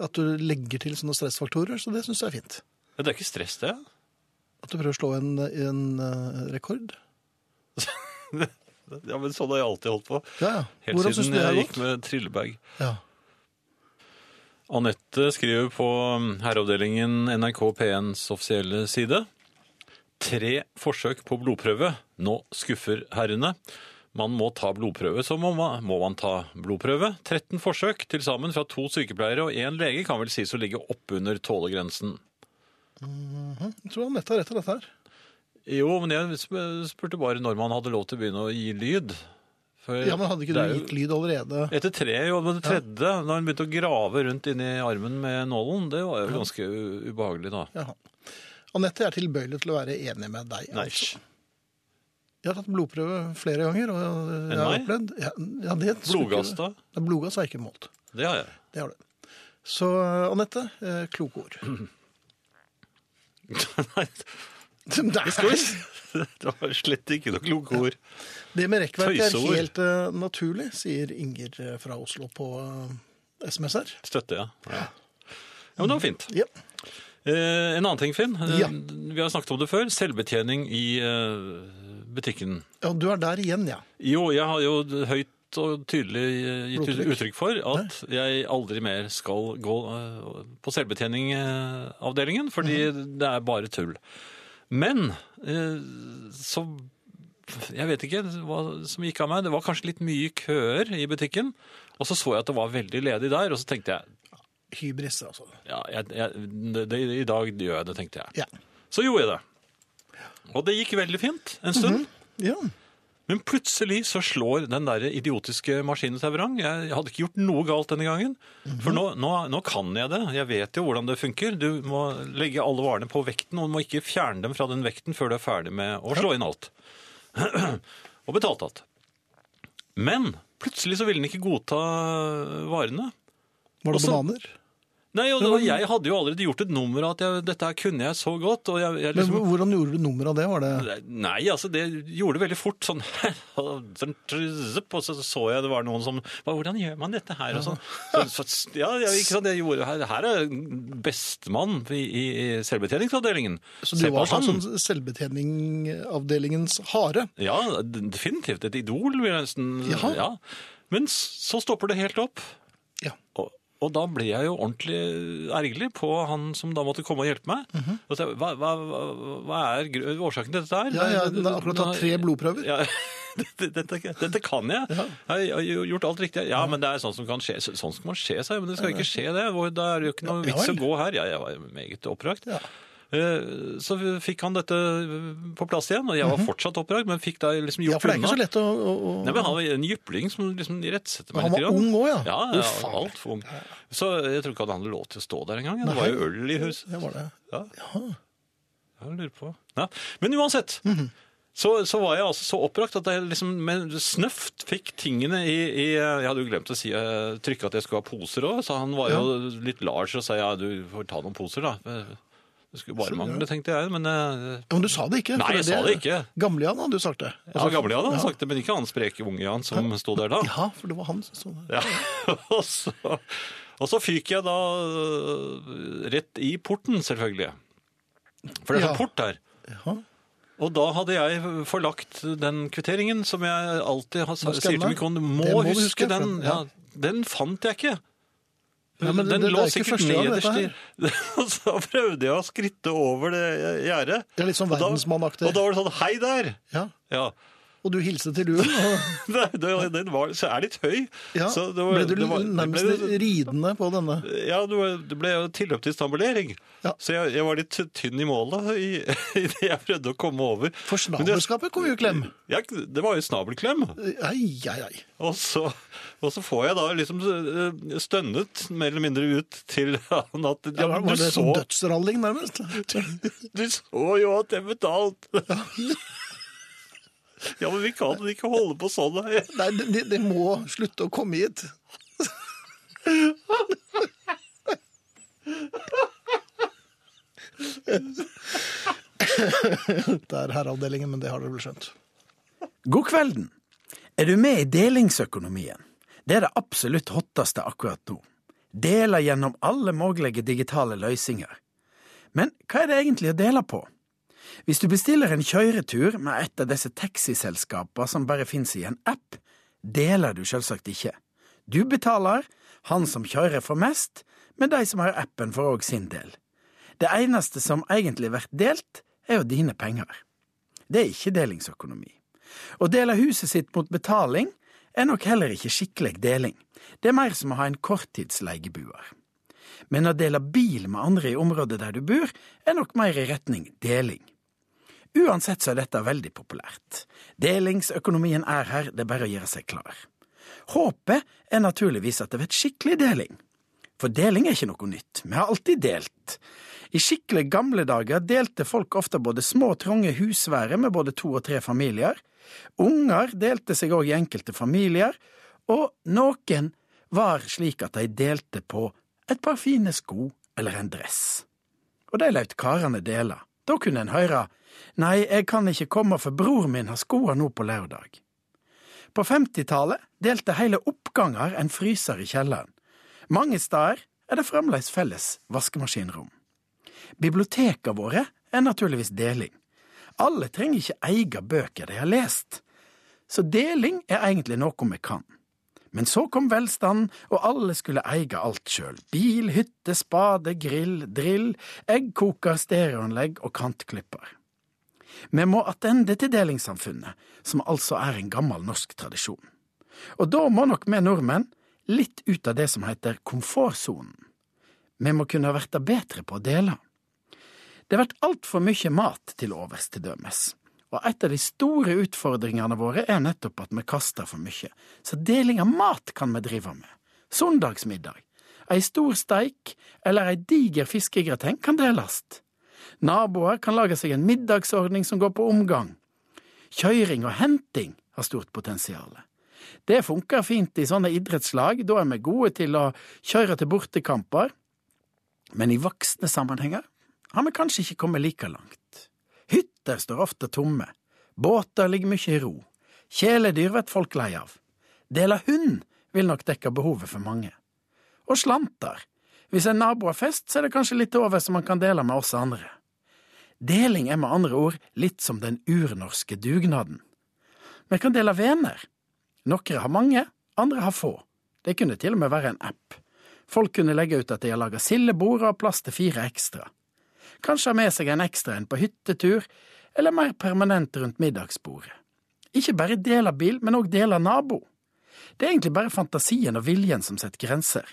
Speaker 1: At du legger til sånne stressfaktorer, så det syns jeg er fint.
Speaker 2: Ja, Det er ikke stress, det.
Speaker 1: At du prøver å slå en, en eh, rekord.
Speaker 2: Ja, men Sånn har jeg alltid holdt på.
Speaker 1: Ja, ja.
Speaker 2: Helt
Speaker 1: Hvordan syns
Speaker 2: siden
Speaker 1: du det
Speaker 2: jeg
Speaker 1: er
Speaker 2: gikk
Speaker 1: godt?
Speaker 2: med trillebag.
Speaker 1: Ja.
Speaker 2: Anette skriver på um, herreavdelingen NRK P1s offisielle side. Tre forsøk på blodprøve. Nå skuffer herrene. Man må ta blodprøve, så må man, må man ta blodprøve. 13 forsøk til sammen fra to sykepleiere og én lege kan vel sies å ligge oppunder tålegrensen.
Speaker 1: Jeg tror Anette har rett i dette her.
Speaker 2: Jo, men jeg sp- spurte bare når man hadde lov til å begynne å gi lyd. For
Speaker 1: Ja, men Hadde ikke
Speaker 2: Eh, det er
Speaker 1: du
Speaker 2: jo-
Speaker 1: gitt lyd allerede?
Speaker 2: Etter tre, jo, men det tredje, da hun begynte å grave rundt inni armen med nålen, det var jo ganske u- ubehagelig da.
Speaker 1: Jaha. Anette er tilbøyelig til å være enig med deg.
Speaker 2: Nei,
Speaker 1: altså. Jeg har tatt blodprøve flere ganger. og jeg har
Speaker 2: meg?
Speaker 1: opplevd... Ja, ja, det skulle
Speaker 2: Blodgass,
Speaker 1: ikke-
Speaker 2: da?
Speaker 1: Nei, Blodgass har jeg ikke målt.
Speaker 2: det har jeg.
Speaker 1: Det har du. Så eh, Anette, eh, kloke ord.
Speaker 2: Nei,
Speaker 1: Nei,
Speaker 2: det var slett ikke noe kloke ord.
Speaker 1: det med rekkverk er
Speaker 2: Tøyseord.
Speaker 1: helt eh, naturlig, sier Inger eh, fra Oslo på eh, SMS her.
Speaker 2: Støtter jeg. Ja. ja, men det var fint.
Speaker 1: Ja.
Speaker 2: Eh, en annen ting, Finn. Eh,
Speaker 1: Ja.
Speaker 2: Vi har snakket om det før. Selvbetjening i eh, butikken.
Speaker 1: ja, du er der igjen, ja.
Speaker 2: Jo, jeg har jo høyt og tydelig eh, gitt
Speaker 1: Blodtrykk.
Speaker 2: uttrykk for at jeg aldri mer skal eh,
Speaker 1: Mhm.
Speaker 2: gå eh, på selvbetjening-avdelingen, fordi det er bare tull. Men eh, så Jeg vet ikke hva som gikk av meg. Det var kanskje litt mye køer i butikken. Og så så jeg at det var veldig ledig der, og så tenkte jeg,
Speaker 1: Hybris, altså.
Speaker 2: ja, jeg, jeg det, det, I dag gjør jeg det, tenkte jeg.
Speaker 1: Ja.
Speaker 2: Så gjorde jeg det. Og det gikk veldig fint en
Speaker 1: Mhm.
Speaker 2: stund.
Speaker 1: ja.
Speaker 2: Men plutselig så slår den der idiotiske maskinen til vrang. Jeg hadde ikke gjort noe galt denne gangen. For nå, nå, nå kan jeg det. Jeg vet jo hvordan det funker. Du må legge alle varene på vekten, og du må ikke fjerne dem fra den vekten før du er ferdig med å slå inn alt. og betalt alt. Men plutselig så ville den ikke godta varene.
Speaker 1: Var det
Speaker 2: Også-
Speaker 1: bananer?
Speaker 2: Nei, og, og jeg hadde jo allerede gjort et nummer av at jeg, dette her kunne jeg så godt. og jeg,
Speaker 1: Men
Speaker 2: jeg liksom...
Speaker 1: hvor- hvordan gjorde du nummer av det? Var det
Speaker 2: Nei, altså det gjorde det veldig fort. Sånn, sånn trzup, og så så jeg det var noen som «Hva, Hvordan gjør man dette her? Og sånn. Så, så, ja, ja, ikke sant, jeg gjorde her, her er bestemann i, i, i selvbetjeningsavdelingen.
Speaker 1: Så du
Speaker 2: Se på
Speaker 1: var sånn
Speaker 2: han.
Speaker 1: som selvbetjeningavdelingens hare?
Speaker 2: Ja, definitivt. Et idol, vil jeg nesten
Speaker 1: Jaha.
Speaker 2: ja. Men s- så stopper det helt opp.
Speaker 1: Ja.
Speaker 2: Og, og da ble jeg jo ordentlig ergerlig på han som da måtte komme og hjelpe meg.
Speaker 1: Mhm.
Speaker 2: Og så, hva, hva, hva- hva er gr- årsaken til dette her?
Speaker 1: Ja, ja, den har akkurat tatt tre blodprøver.
Speaker 2: Ja, dette, dette, dette kan jeg. Jeg har jo gjort alt riktig. Ja, men det er sånn som kan skje. Så- Sånn skal man skje seg, men det skal ikke skje det. Hvor- Da er det jo ikke noe
Speaker 1: Ja, ja
Speaker 2: vits å
Speaker 1: vel.
Speaker 2: gå her. Ja, jeg var meget opprørt.
Speaker 1: Ja.
Speaker 2: Eh, Så fikk han dette eh, på plass igjen, og jeg var fortsatt opprørt, men fikk da liksom
Speaker 1: Mhm. Ja,
Speaker 2: gjort
Speaker 1: for det er ikke så
Speaker 2: unna.
Speaker 1: lett å, å, å...
Speaker 2: Nei, men Han var en jypling som liksom irettsette meg
Speaker 1: Han var
Speaker 2: litt. grann.
Speaker 1: ung også, ja.
Speaker 2: Ja, ja altfor ung. Så jeg tror ikke han hadde lov til å stå der engang. Det var jo øl i huset.
Speaker 1: Det var det.
Speaker 2: Ja. Jeg lurer på. Ja. Men uansett, så, så var jeg altså så oppbrakt at jeg liksom med snøft fikk tingene i, i Jeg hadde jo glemt å si, eh, trykke at jeg skulle ha poser òg, så han var jo litt large og sa ja, du får ta noen poser, da. Eh, Det skulle bare mangle, tenkte jeg. Men eh,
Speaker 1: Ja, men du sa det ikke. for
Speaker 2: Nei, jeg sa det ikke.
Speaker 1: Gamle-Jan hadde jo sagt det. Altså- Og
Speaker 2: ja,
Speaker 1: så-
Speaker 2: gamle Jan hadde sagt det, men ikke han spreke unge Jan som sto der da.
Speaker 1: Ja, for det var han som så det.
Speaker 2: Ja. og, så, og så fyker jeg da øh, rett i porten, selvfølgelig. For det er
Speaker 1: Ja.
Speaker 2: sånn port her.
Speaker 1: Ja.
Speaker 2: Og da hadde jeg forlagt den kvitteringen som jeg alltid har, sa-
Speaker 1: Må
Speaker 2: sier
Speaker 1: skanne.
Speaker 2: til min kone, du må,
Speaker 1: Det må du
Speaker 2: huske,
Speaker 1: huske,
Speaker 2: den.
Speaker 1: for-
Speaker 2: Ja,
Speaker 1: ja.
Speaker 2: den fant jeg ikke.
Speaker 1: Nei, men det-
Speaker 2: den
Speaker 1: det- det
Speaker 2: lå
Speaker 1: er ikke
Speaker 2: sikkert
Speaker 1: første gang, dette
Speaker 2: nederst i Og så prøvde jeg å skritte over det gjerdet.
Speaker 1: Det er litt sånn
Speaker 2: Og da-
Speaker 1: verdensmannaktig.
Speaker 2: Og da var det sånn Hei der!
Speaker 1: Ja.
Speaker 2: Ja.
Speaker 1: Og du hilste til luen, og
Speaker 2: Nei, det- Den var, så er litt høy.
Speaker 1: ja,
Speaker 2: så det var-
Speaker 1: ble du
Speaker 2: det var-
Speaker 1: nærmest
Speaker 2: det ble-
Speaker 1: ridende på denne.
Speaker 2: Ja, det var- det ble jo tilløp til stambulering.
Speaker 1: Ja.
Speaker 2: Så jeg, jeg var litt tynn i målet i, i det jeg prøvde å komme over.
Speaker 1: For
Speaker 2: Men det-
Speaker 1: snabelskapet kom jo i klem.
Speaker 2: Ja, det var jo snabelklem.
Speaker 1: Ei, ei, ei.
Speaker 2: Og så, og så får jeg da liksom eh, stønnet mer eller mindre ut til han at ja,
Speaker 1: Ja, var
Speaker 2: men
Speaker 1: var
Speaker 2: du,
Speaker 1: det sånn
Speaker 2: så,
Speaker 1: dødsralling nærmest?
Speaker 2: du så jo at jeg betalte. Ja, men vi kan ikke holde på sånn. da.
Speaker 1: Nei, det, det- det må slutte å komme hit. Det er herreavdelingen, men det har dere vel skjønt.
Speaker 4: God kvelden. Er du med i delingsøkonomien? Det er det absolutt hotteste akkurat nå. Deler gjennom alle mulige digitale løsninger. Men hva er det egentlig å dele på? Hvis du bestiller en kjøretur med et av disse taxiselskapene som bare finnes i en app, deler du selvsagt ikke. Du betaler, han som kjører får mest, men de som har appen får òg sin del. Det eneste som egentlig blir delt, er jo dine penger. Det er ikke delingsøkonomi. Å dele huset sitt mot betaling er nok heller ikke skikkelig deling. Det er mer som å ha en korttidsleiebuer. Men å dele bil med andre i området der du bor, er nok mer i retning deling. Uansett så er dette veldig populært. Delingsøkonomien er her, det er bare å gjøre seg klar. Håpet er naturligvis at det blir skikkelig deling. For deling er ikke noe nytt, vi har alltid delt. I skikkelig gamle dager delte folk ofte både små, trange husvære med både to og tre familier. Unger delte seg òg i enkelte familier, og noen var slik at de delte på et par fine sko eller en dress. Og de laut karene dele. Da kunne en høre Nei, jeg kan ikke komme, for bror min har skoa nå på lørdag. På 50-tallet delte hele oppganger en fryser i kjelleren. Mange steder er det fremdeles felles vaskemaskinrom. Bibliotekene våre er naturligvis deling. Alle trenger ikke eie bøker de har lest. Så deling er egentlig noe vi kan. Men så kom velstanden, og alle skulle eie alt sjøl. Bil, hytte, spade, grill, drill, eggkoker, stereoanlegg og kantklipper. Vi må attende til delingssamfunnet, som altså er en gammel norsk tradisjon. Og da må nok vi nordmenn litt ut av det som heter komfortsonen. Vi må kunne verta betre på å dele. Det vert altfor mykje mat til overs, til dømes. Og et av de store utfordringene våre er nettopp at vi kaster for mykje, så deling av mat kan vi drive med. Søndagsmiddag. Ei stor steik eller ei diger fiskegrateng kan delast. Naboer kan lage seg en middagsordning som går på omgang. Kjøring og henting har stort potensial. Det funker fint i sånne idrettslag, da er vi gode til å kjøre til bortekamper, men i voksne sammenhenger har vi kanskje ikke kommet like langt. Hytter står ofte tomme, båter ligger mye i ro, kjæledyr blir folk lei av. Del av hund vil nok dekke behovet for mange. Og slanter. Hvis en nabo har fest, så er det kanskje litt over som man kan dele med oss andre. Deling er med andre ord litt som den urnorske dugnaden. Vi kan dele venner. Noen har mange, andre har få. Det kunne til og med være en app. Folk kunne legge ut at de har laga sildebord og har plass til fire ekstra. Kanskje ha med seg en ekstra en på hyttetur, eller mer permanent rundt middagsbordet. Ikke bare del av bil, men òg del av nabo. Det er egentlig bare fantasien og viljen som setter grenser.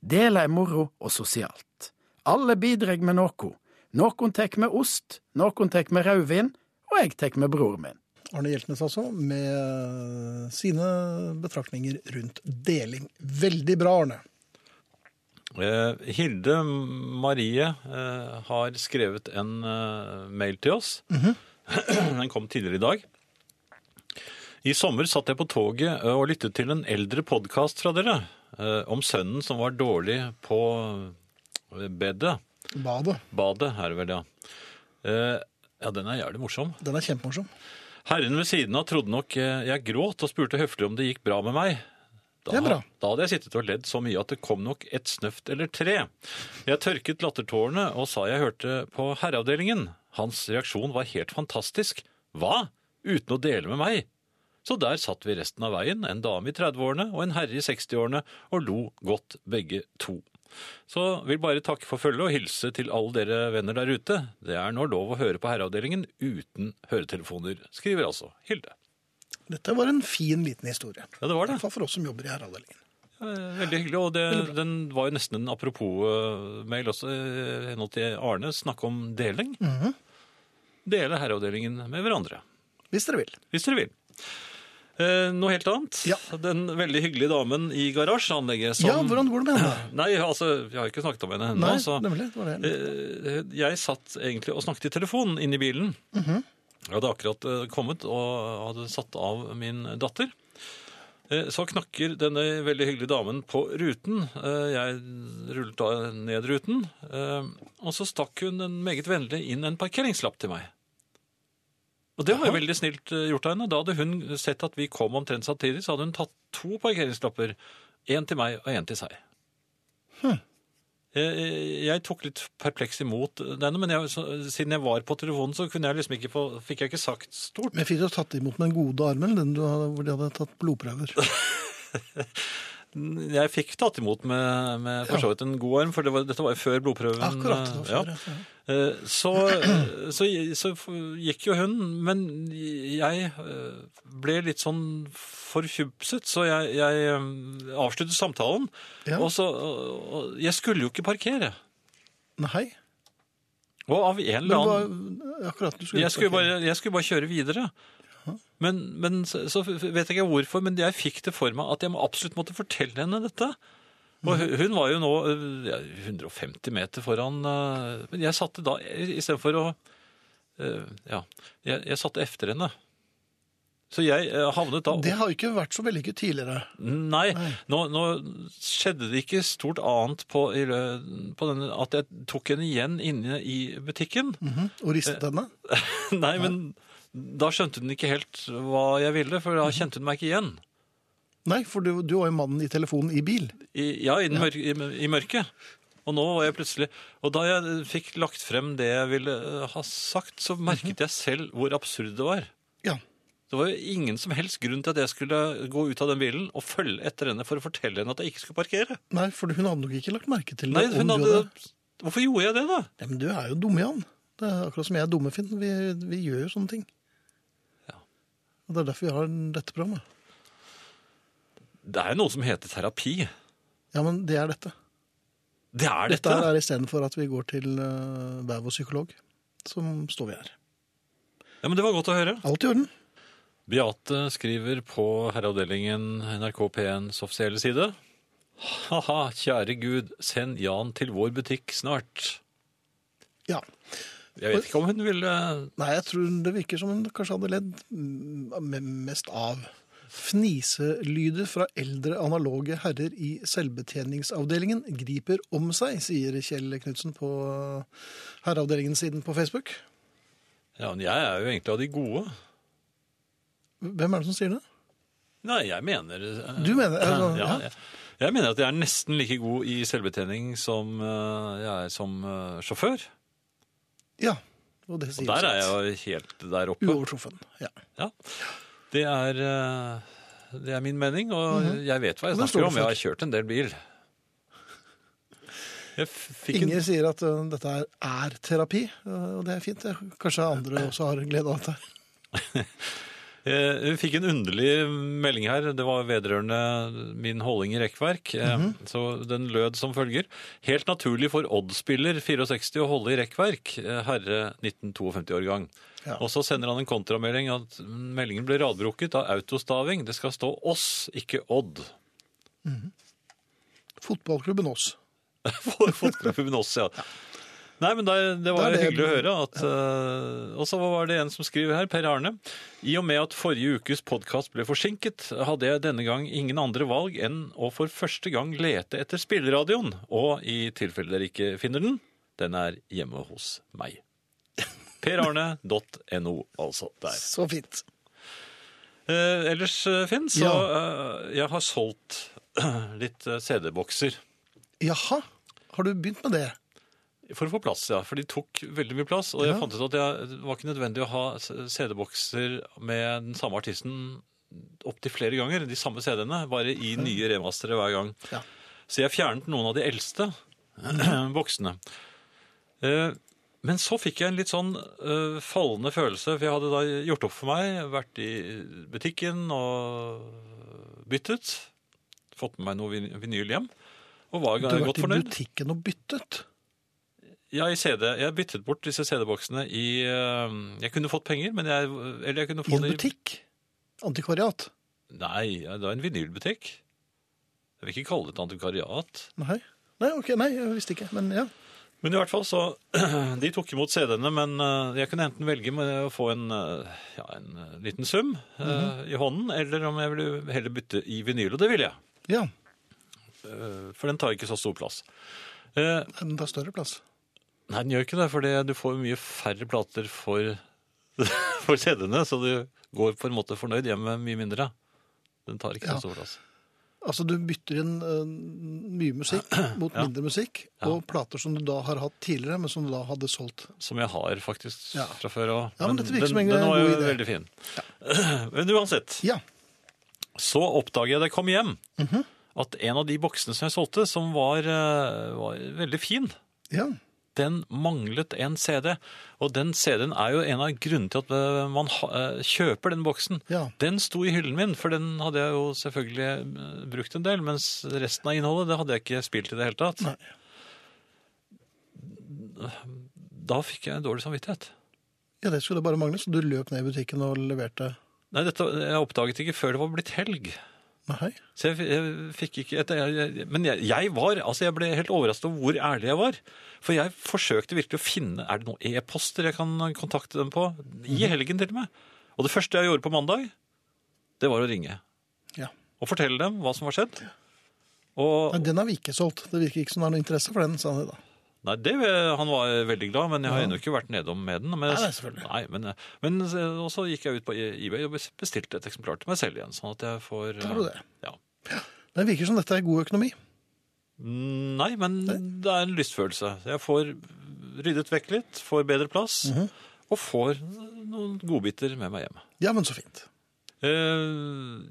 Speaker 4: Dela er moro og sosialt. Alle bidreg med noe. Noen tek med ost, noen tek med rødvin, og jeg tek med bror min.
Speaker 1: Arne Hjeltnes altså, med sine betraktninger rundt deling. Veldig bra, Arne.
Speaker 2: Eh, Hilde Marie eh, har skrevet en eh, mail til oss. Den kom tidligere i dag. I sommer satt jeg på toget eh, og lyttet til en eldre podkast fra dere eh, om sønnen som var dårlig på eh, bedet.
Speaker 1: Badet.
Speaker 2: Badet, er det vel, ja. Eh, Ja, den er jævlig morsom.
Speaker 1: Den er kjempemorsom.
Speaker 2: Herren ved siden av trodde nok eh, jeg gråt og spurte høflig om det gikk bra med meg. Da,
Speaker 1: Det er bra.
Speaker 2: da hadde jeg sittet og ledd så mye at det kom nok et snøft eller tre. Jeg tørket lattertårene og sa jeg hørte på herreavdelingen. Hans reaksjon var helt fantastisk. Hva? Uten å dele med meg? Så der satt vi resten av veien, en dame i 30-årene og en herre i 60-årene, og lo godt begge to. Så vil bare takke for følget og hilse til alle dere venner der ute. Det er nå lov å høre på Herreavdelingen uten høretelefoner, skriver altså Hilde.
Speaker 1: Dette var en fin, liten historie.
Speaker 2: Ja, det
Speaker 1: I
Speaker 2: var det.
Speaker 1: hvert fall for oss som jobber i herreavdelingen.
Speaker 2: Eh, Veldig hyggelig. Og det, den var jo nesten en apropos-mail også, eh, i henhold til Arne. Snakke om deling. Dele Herreavdelingen med hverandre.
Speaker 1: Hvis dere vil.
Speaker 2: hvis dere vil. Eh, noe helt annet.
Speaker 1: Ja.
Speaker 2: Den veldig hyggelige damen i garasjeanlegget som
Speaker 1: Ja, hvordan går det med henne?
Speaker 2: Nei, altså, jeg har ikke snakket om henne ennå.
Speaker 1: Nei,
Speaker 2: så-
Speaker 1: nemlig. Det var det.
Speaker 2: Eh, jeg satt egentlig og snakket i telefonen inne i bilen. Jeg hadde akkurat eh, kommet og hadde satt av min datter. Eh, Så knakker denne veldig hyggelige damen på ruten. Eh, Jeg rullet da ned ruten. eh, Og så stakk hun en meget vennlig inn en parkeringslapp til meg. Og det var jo veldig snilt eh, gjort av henne. Da hadde hun sett at vi kom omtrent samtidig, så hadde hun tatt to parkeringslapper. Én til meg og én til seg. Eh, Jeg tok litt perpleks imot denne, men jeg, så, siden jeg var på telefonen, så kunne jeg liksom ikke få, fikk jeg ikke sagt stort.
Speaker 1: Men fikk du tatt imot med den gode armen, den du hadde, hvor de hadde tatt blodprøver?
Speaker 2: Jeg fikk tatt imot med, med for så vidt en god arm, for det var, dette var jo før blodprøven.
Speaker 1: Akkurat.
Speaker 2: eh,
Speaker 1: Det sånn. var
Speaker 2: ja.
Speaker 1: før, ja.
Speaker 2: Eh, Så, så, så gikk jo hun, men jeg eh, ble litt sånn forfjupset, så jeg, jeg eh, avsluttet samtalen.
Speaker 1: Ja.
Speaker 2: Og så, og- og jeg skulle jo ikke parkere.
Speaker 1: Nei.
Speaker 2: Og av en
Speaker 1: Men
Speaker 2: eller
Speaker 1: det
Speaker 2: annen...
Speaker 1: var akkurat du skulle
Speaker 2: Jeg skulle bare, jeg skulle bare kjøre videre. Men, men så, så vet jeg ikke hvorfor, men jeg fikk det for meg at jeg må- absolutt måtte fortelle henne dette. Og hun hun var jo nå øh, ja, 150 meter foran øh, Men jeg satte da istedenfor å øh, Ja, jeg, jeg satte efter henne. Så jeg øh, havnet da opp-
Speaker 1: Det har jo ikke vært så vellykket tidligere.
Speaker 2: Nei, Nå, nå skjedde det ikke stort annet på, i lø- på den, at jeg tok henne igjen inne i butikken.
Speaker 1: Mhm. Og ristet henne.
Speaker 2: Nei, men da skjønte hun ikke helt hva jeg ville, for da kjente hun meg ikke igjen.
Speaker 1: Nei, for du, du var jo mannen i telefonen i bil.
Speaker 2: I, ja, i, den mørke, i, i mørket. Og nå var jeg plutselig Og da jeg fikk lagt frem det jeg ville eh, ha sagt, så
Speaker 1: Mhm.
Speaker 2: merket jeg selv hvor absurd det var.
Speaker 1: Ja.
Speaker 2: Det var jo ingen som helst grunn til at jeg skulle gå ut av den bilen og følge etter henne for å fortelle henne at jeg ikke skulle parkere.
Speaker 1: Nei, for hun hadde nok ikke lagt merke til det.
Speaker 2: Nei,
Speaker 1: om
Speaker 2: hun
Speaker 1: du
Speaker 2: hadde... Hvorfor gjorde jeg det, da?
Speaker 1: Nei, men du er jo dum, Jan. Det er akkurat som jeg er dumme, Finn. Vi, vi gjør jo sånne ting.
Speaker 2: Ja.
Speaker 1: Og Det er derfor vi har dette programmet.
Speaker 2: Det er jo noe som heter terapi.
Speaker 1: Ja, men det er dette.
Speaker 2: Det er
Speaker 1: Dette,
Speaker 2: dette.
Speaker 1: dette er istedenfor at vi går til eh, hver vår psykolog, som står vi her.
Speaker 2: Ja, men Det var godt å høre.
Speaker 1: Alt i orden.
Speaker 2: Beate skriver på herreavdelingen NRK P1s offisielle side. Ha-ha, kjære Gud, send Jan til vår butikk snart.
Speaker 1: Ja.
Speaker 2: Jeg vet ikke om hun ville
Speaker 1: Nei, jeg tror det virker som hun kanskje hadde ledd mm, me- mest av. Fniselyder fra eldre analoge herrer i selvbetjeningsavdelingen griper om seg, sier Kjell Knutsen på herreavdelingen siden på Facebook.
Speaker 2: Ja, men jeg er jo egentlig av de gode.
Speaker 1: Hvem er det som sier det?
Speaker 2: Nei, jeg mener eh,
Speaker 1: Du mener- altså,
Speaker 2: ja,
Speaker 1: ja.
Speaker 2: jeg, jeg mener at jeg er nesten like god i selvbetjening som eh, jeg er som eh, sjåfør.
Speaker 1: Ja. Og det sier
Speaker 2: Og der er
Speaker 1: jo
Speaker 2: jeg jo helt der
Speaker 1: sitt.
Speaker 2: oppe.
Speaker 1: Uovertruffen. Ja.
Speaker 2: Ja. Det er, eh, det er min mening, og
Speaker 1: Mhm.
Speaker 2: jeg vet hva jeg
Speaker 1: Og det står
Speaker 2: snakker
Speaker 1: du
Speaker 2: om. Jeg har
Speaker 1: for.
Speaker 2: kjørt en del bil. Jeg f- fikk en...
Speaker 1: Inger sier at ø, dette er, er terapi, ø, og det er fint. det. Kanskje andre også har glede av dette.
Speaker 2: Eh, Vi fikk en underlig melding her. Det var vedrørende min holdning i rekkverk. Eh,
Speaker 1: Mhm.
Speaker 2: Så den lød som følger. Helt naturlig for Odd-spiller 64 å holde i rekkverk, eh, herre 1952-årgang.
Speaker 1: Ja.
Speaker 2: Og så sender han en kontramelding at meldingen ble radbrukket av autostaving. Det skal stå oss, ikke Odd.
Speaker 1: Fotballklubben Ås.
Speaker 2: for fotklubben også, ja. Nei, men der, Det var
Speaker 1: Det er det.
Speaker 2: hyggelig å høre. At, eh, og så var det en som skriver her, Per Arne. I og med at forrige ukes podkast ble forsinket, hadde jeg denne gang ingen andre valg enn å for første gang lete etter spilleradioen. Og i tilfelle dere ikke finner den, den er hjemme hos meg. perarne.no, altså. Der.
Speaker 1: Så fint.
Speaker 2: Eh, ellers, eh, Finn, så
Speaker 1: Ja.
Speaker 2: eh, jeg har solgt litt eh, CD-bokser.
Speaker 1: Jaha, har du begynt med det?
Speaker 2: For å få plass, ja. For de tok veldig mye plass. Og jeg fant ut at jeg, det var ikke nødvendig å ha c- CD-bokser med den samme artisten opptil flere ganger. De samme CD-ene, bare i nye remastere hver gang.
Speaker 1: Ja.
Speaker 2: Så jeg fjernet noen av de eldste boksene. Eh, Men så fikk jeg en litt sånn eh, fallende følelse, for jeg hadde da gjort opp for meg, vært i butikken og byttet. Fått med meg noe vin- vinyl hjem. Og var
Speaker 1: Du har vært
Speaker 2: godt
Speaker 1: i
Speaker 2: fornøyd.
Speaker 1: butikken og byttet.
Speaker 2: Ja, i CD. Jeg byttet bort disse CD-boksene i eh, Jeg kunne fått penger, men jeg Eller jeg kunne
Speaker 1: I
Speaker 2: få
Speaker 1: en
Speaker 2: det
Speaker 1: butikk? Antikvariat?
Speaker 2: Nei, det var en vinylbutikk. Jeg vil ikke kalle det et antikvariat.
Speaker 1: Nei. Nei, ok, nei, jeg visste ikke, men ja.
Speaker 2: Men i hvert fall så De tok imot CD-ene, men eh, jeg kunne enten velge med å få en, eh, ja, en eh, liten sum eh,
Speaker 1: Mhm.
Speaker 2: i hånden, eller om jeg ville heller bytte i vinyl. Og det ville jeg,
Speaker 1: Ja,
Speaker 2: eh, for den tar ikke så stor plass. Eh,
Speaker 1: den tar større plass.
Speaker 2: Nei, den gjør ikke det, for det- du får jo mye færre plater for, for CD-ene, så du går på en måte fornøyd hjem med mye mindre. Den tar ikke
Speaker 1: Ja.
Speaker 2: så stor plass.
Speaker 1: Altså, du bytter inn ø, mye musikk mot
Speaker 2: Ja.
Speaker 1: mindre musikk, og plater som du da har hatt tidligere, men som du da hadde solgt.
Speaker 2: Som jeg har faktisk
Speaker 1: Ja.
Speaker 2: fra før av.
Speaker 1: Ja, men dette virker
Speaker 2: den,
Speaker 1: som en
Speaker 2: den var
Speaker 1: god
Speaker 2: jo
Speaker 1: idé.
Speaker 2: veldig fin. Men uansett,
Speaker 1: Ja,
Speaker 2: så oppdager jeg da jeg kom hjem,
Speaker 1: Mhm.
Speaker 2: at en av de boksene som jeg solgte, som var, eh, var veldig fin,
Speaker 1: ja.
Speaker 2: den manglet en CD. Og den CD-en er jo en av grunnene til at eh, man ha- eh, kjøper den boksen.
Speaker 1: Ja.
Speaker 2: Den sto i hyllen min, for den hadde jeg jo selvfølgelig eh, brukt en del, mens resten av innholdet det hadde jeg ikke spilt i det hele tatt.
Speaker 1: Nei.
Speaker 2: Da fikk jeg dårlig samvittighet.
Speaker 1: Ja, det skulle bare mangle, så du løp ned i butikken og leverte.
Speaker 2: Nei, dette jeg oppdaget ikke før det var blitt helg.
Speaker 1: Nei.
Speaker 2: Så jeg, jeg fikk ikke et, jeg, jeg, Men jeg, jeg var altså jeg ble helt overrasket over hvor ærlig jeg var. For jeg forsøkte virkelig å finne Er det noen e-poster jeg kan kontakte dem på? I helgen, til og med. Og det første jeg gjorde på mandag, det var å ringe.
Speaker 1: Ja.
Speaker 2: Og fortelle dem hva som var skjedd. Og
Speaker 1: Nei, den har vi ikke solgt. Det virker ikke som det er noe interesse for den, sa han da.
Speaker 2: Nei, det, eh, han var veldig glad, men jeg har ennå ikke vært nedom med den. Men,
Speaker 1: Nei, nei, selvfølgelig.
Speaker 2: Nei, men, eh, men og så gikk jeg ut på E- eBay og bestilte et eksemplar til meg selv igjen. Sånn at jeg får
Speaker 1: Tar du det?
Speaker 2: Ja.
Speaker 1: Det virker som dette er god økonomi.
Speaker 2: Mm, Nei, men det er en lystfølelse. Jeg får ryddet vekk litt, får bedre plass,
Speaker 1: Mhm.
Speaker 2: og får noen godbiter med meg hjem.
Speaker 1: Ja, men så fint.
Speaker 2: Eh,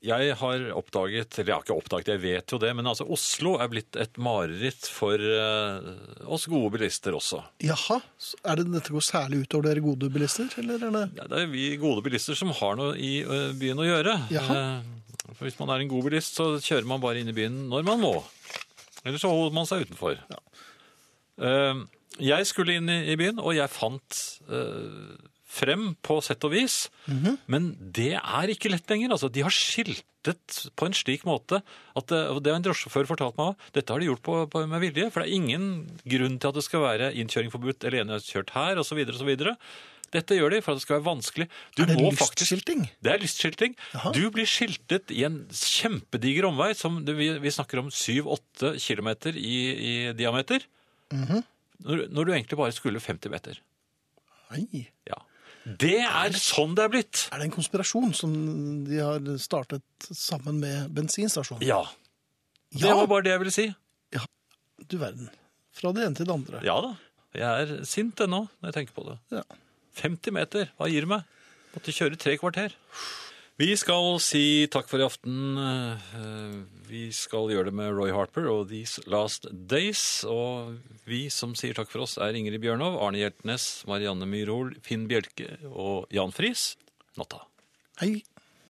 Speaker 2: Jeg har oppdaget, eller jeg har ikke oppdaget, jeg vet jo det, men altså Oslo er blitt et mareritt for eh, oss gode bilister også.
Speaker 1: Jaha, så er det dette går særlig utover dere gode bilister, eller er det?
Speaker 2: Ja, Det er vi gode bilister som har noe i eh, byen å gjøre.
Speaker 1: Jaha.
Speaker 2: Eh, For hvis man er en god bilist, så kjører man bare inn i byen når man må. Eller så holder man seg utenfor. Eh, Jeg skulle inn i i byen, og jeg fant eh, frem på sett og vis.
Speaker 1: Mhm.
Speaker 2: Men det er ikke lett lenger. Altså, de har skiltet på en slik måte at det, og det har en drosjesjåfør fortalt meg òg. Dette har de gjort på, på, med vilje, for det er ingen grunn til at det skal være innkjøring forbudt eller enhjørskjørt her osv. osv. Dette gjør de for at det skal være vanskelig. Du
Speaker 1: Er det
Speaker 2: må faktisk-
Speaker 1: lystskilting?
Speaker 2: det er lystskilting. Du blir skiltet i en kjempediger omvei, som det, vi, vi snakker om 7-8 kilometer i, i diameter, når, når du egentlig bare skulle 50 meter.
Speaker 1: Nei.
Speaker 2: Ja. Det er sånn det er blitt!
Speaker 1: Er det en konspirasjon som de har startet sammen med bensinstasjonen?
Speaker 2: Ja. Det var bare det jeg ville si.
Speaker 1: Du verden. Fra det ene til det andre.
Speaker 2: Ja da. Jeg er sint ennå når jeg tenker på det.
Speaker 1: Ja.
Speaker 2: 50 meter, hva gir det meg? Måtte kjøre tre kvarter. Vi skal si takk for i aften. Eh, Vi skal gjøre det med Roy Harper og These Last Days. Og vi som sier takk for oss, er Ingrid Bjørnov, Arne Hjeltnes, Marianne Myrhol, Finn Bjelke og Jan Friis. Natta.
Speaker 1: Hei.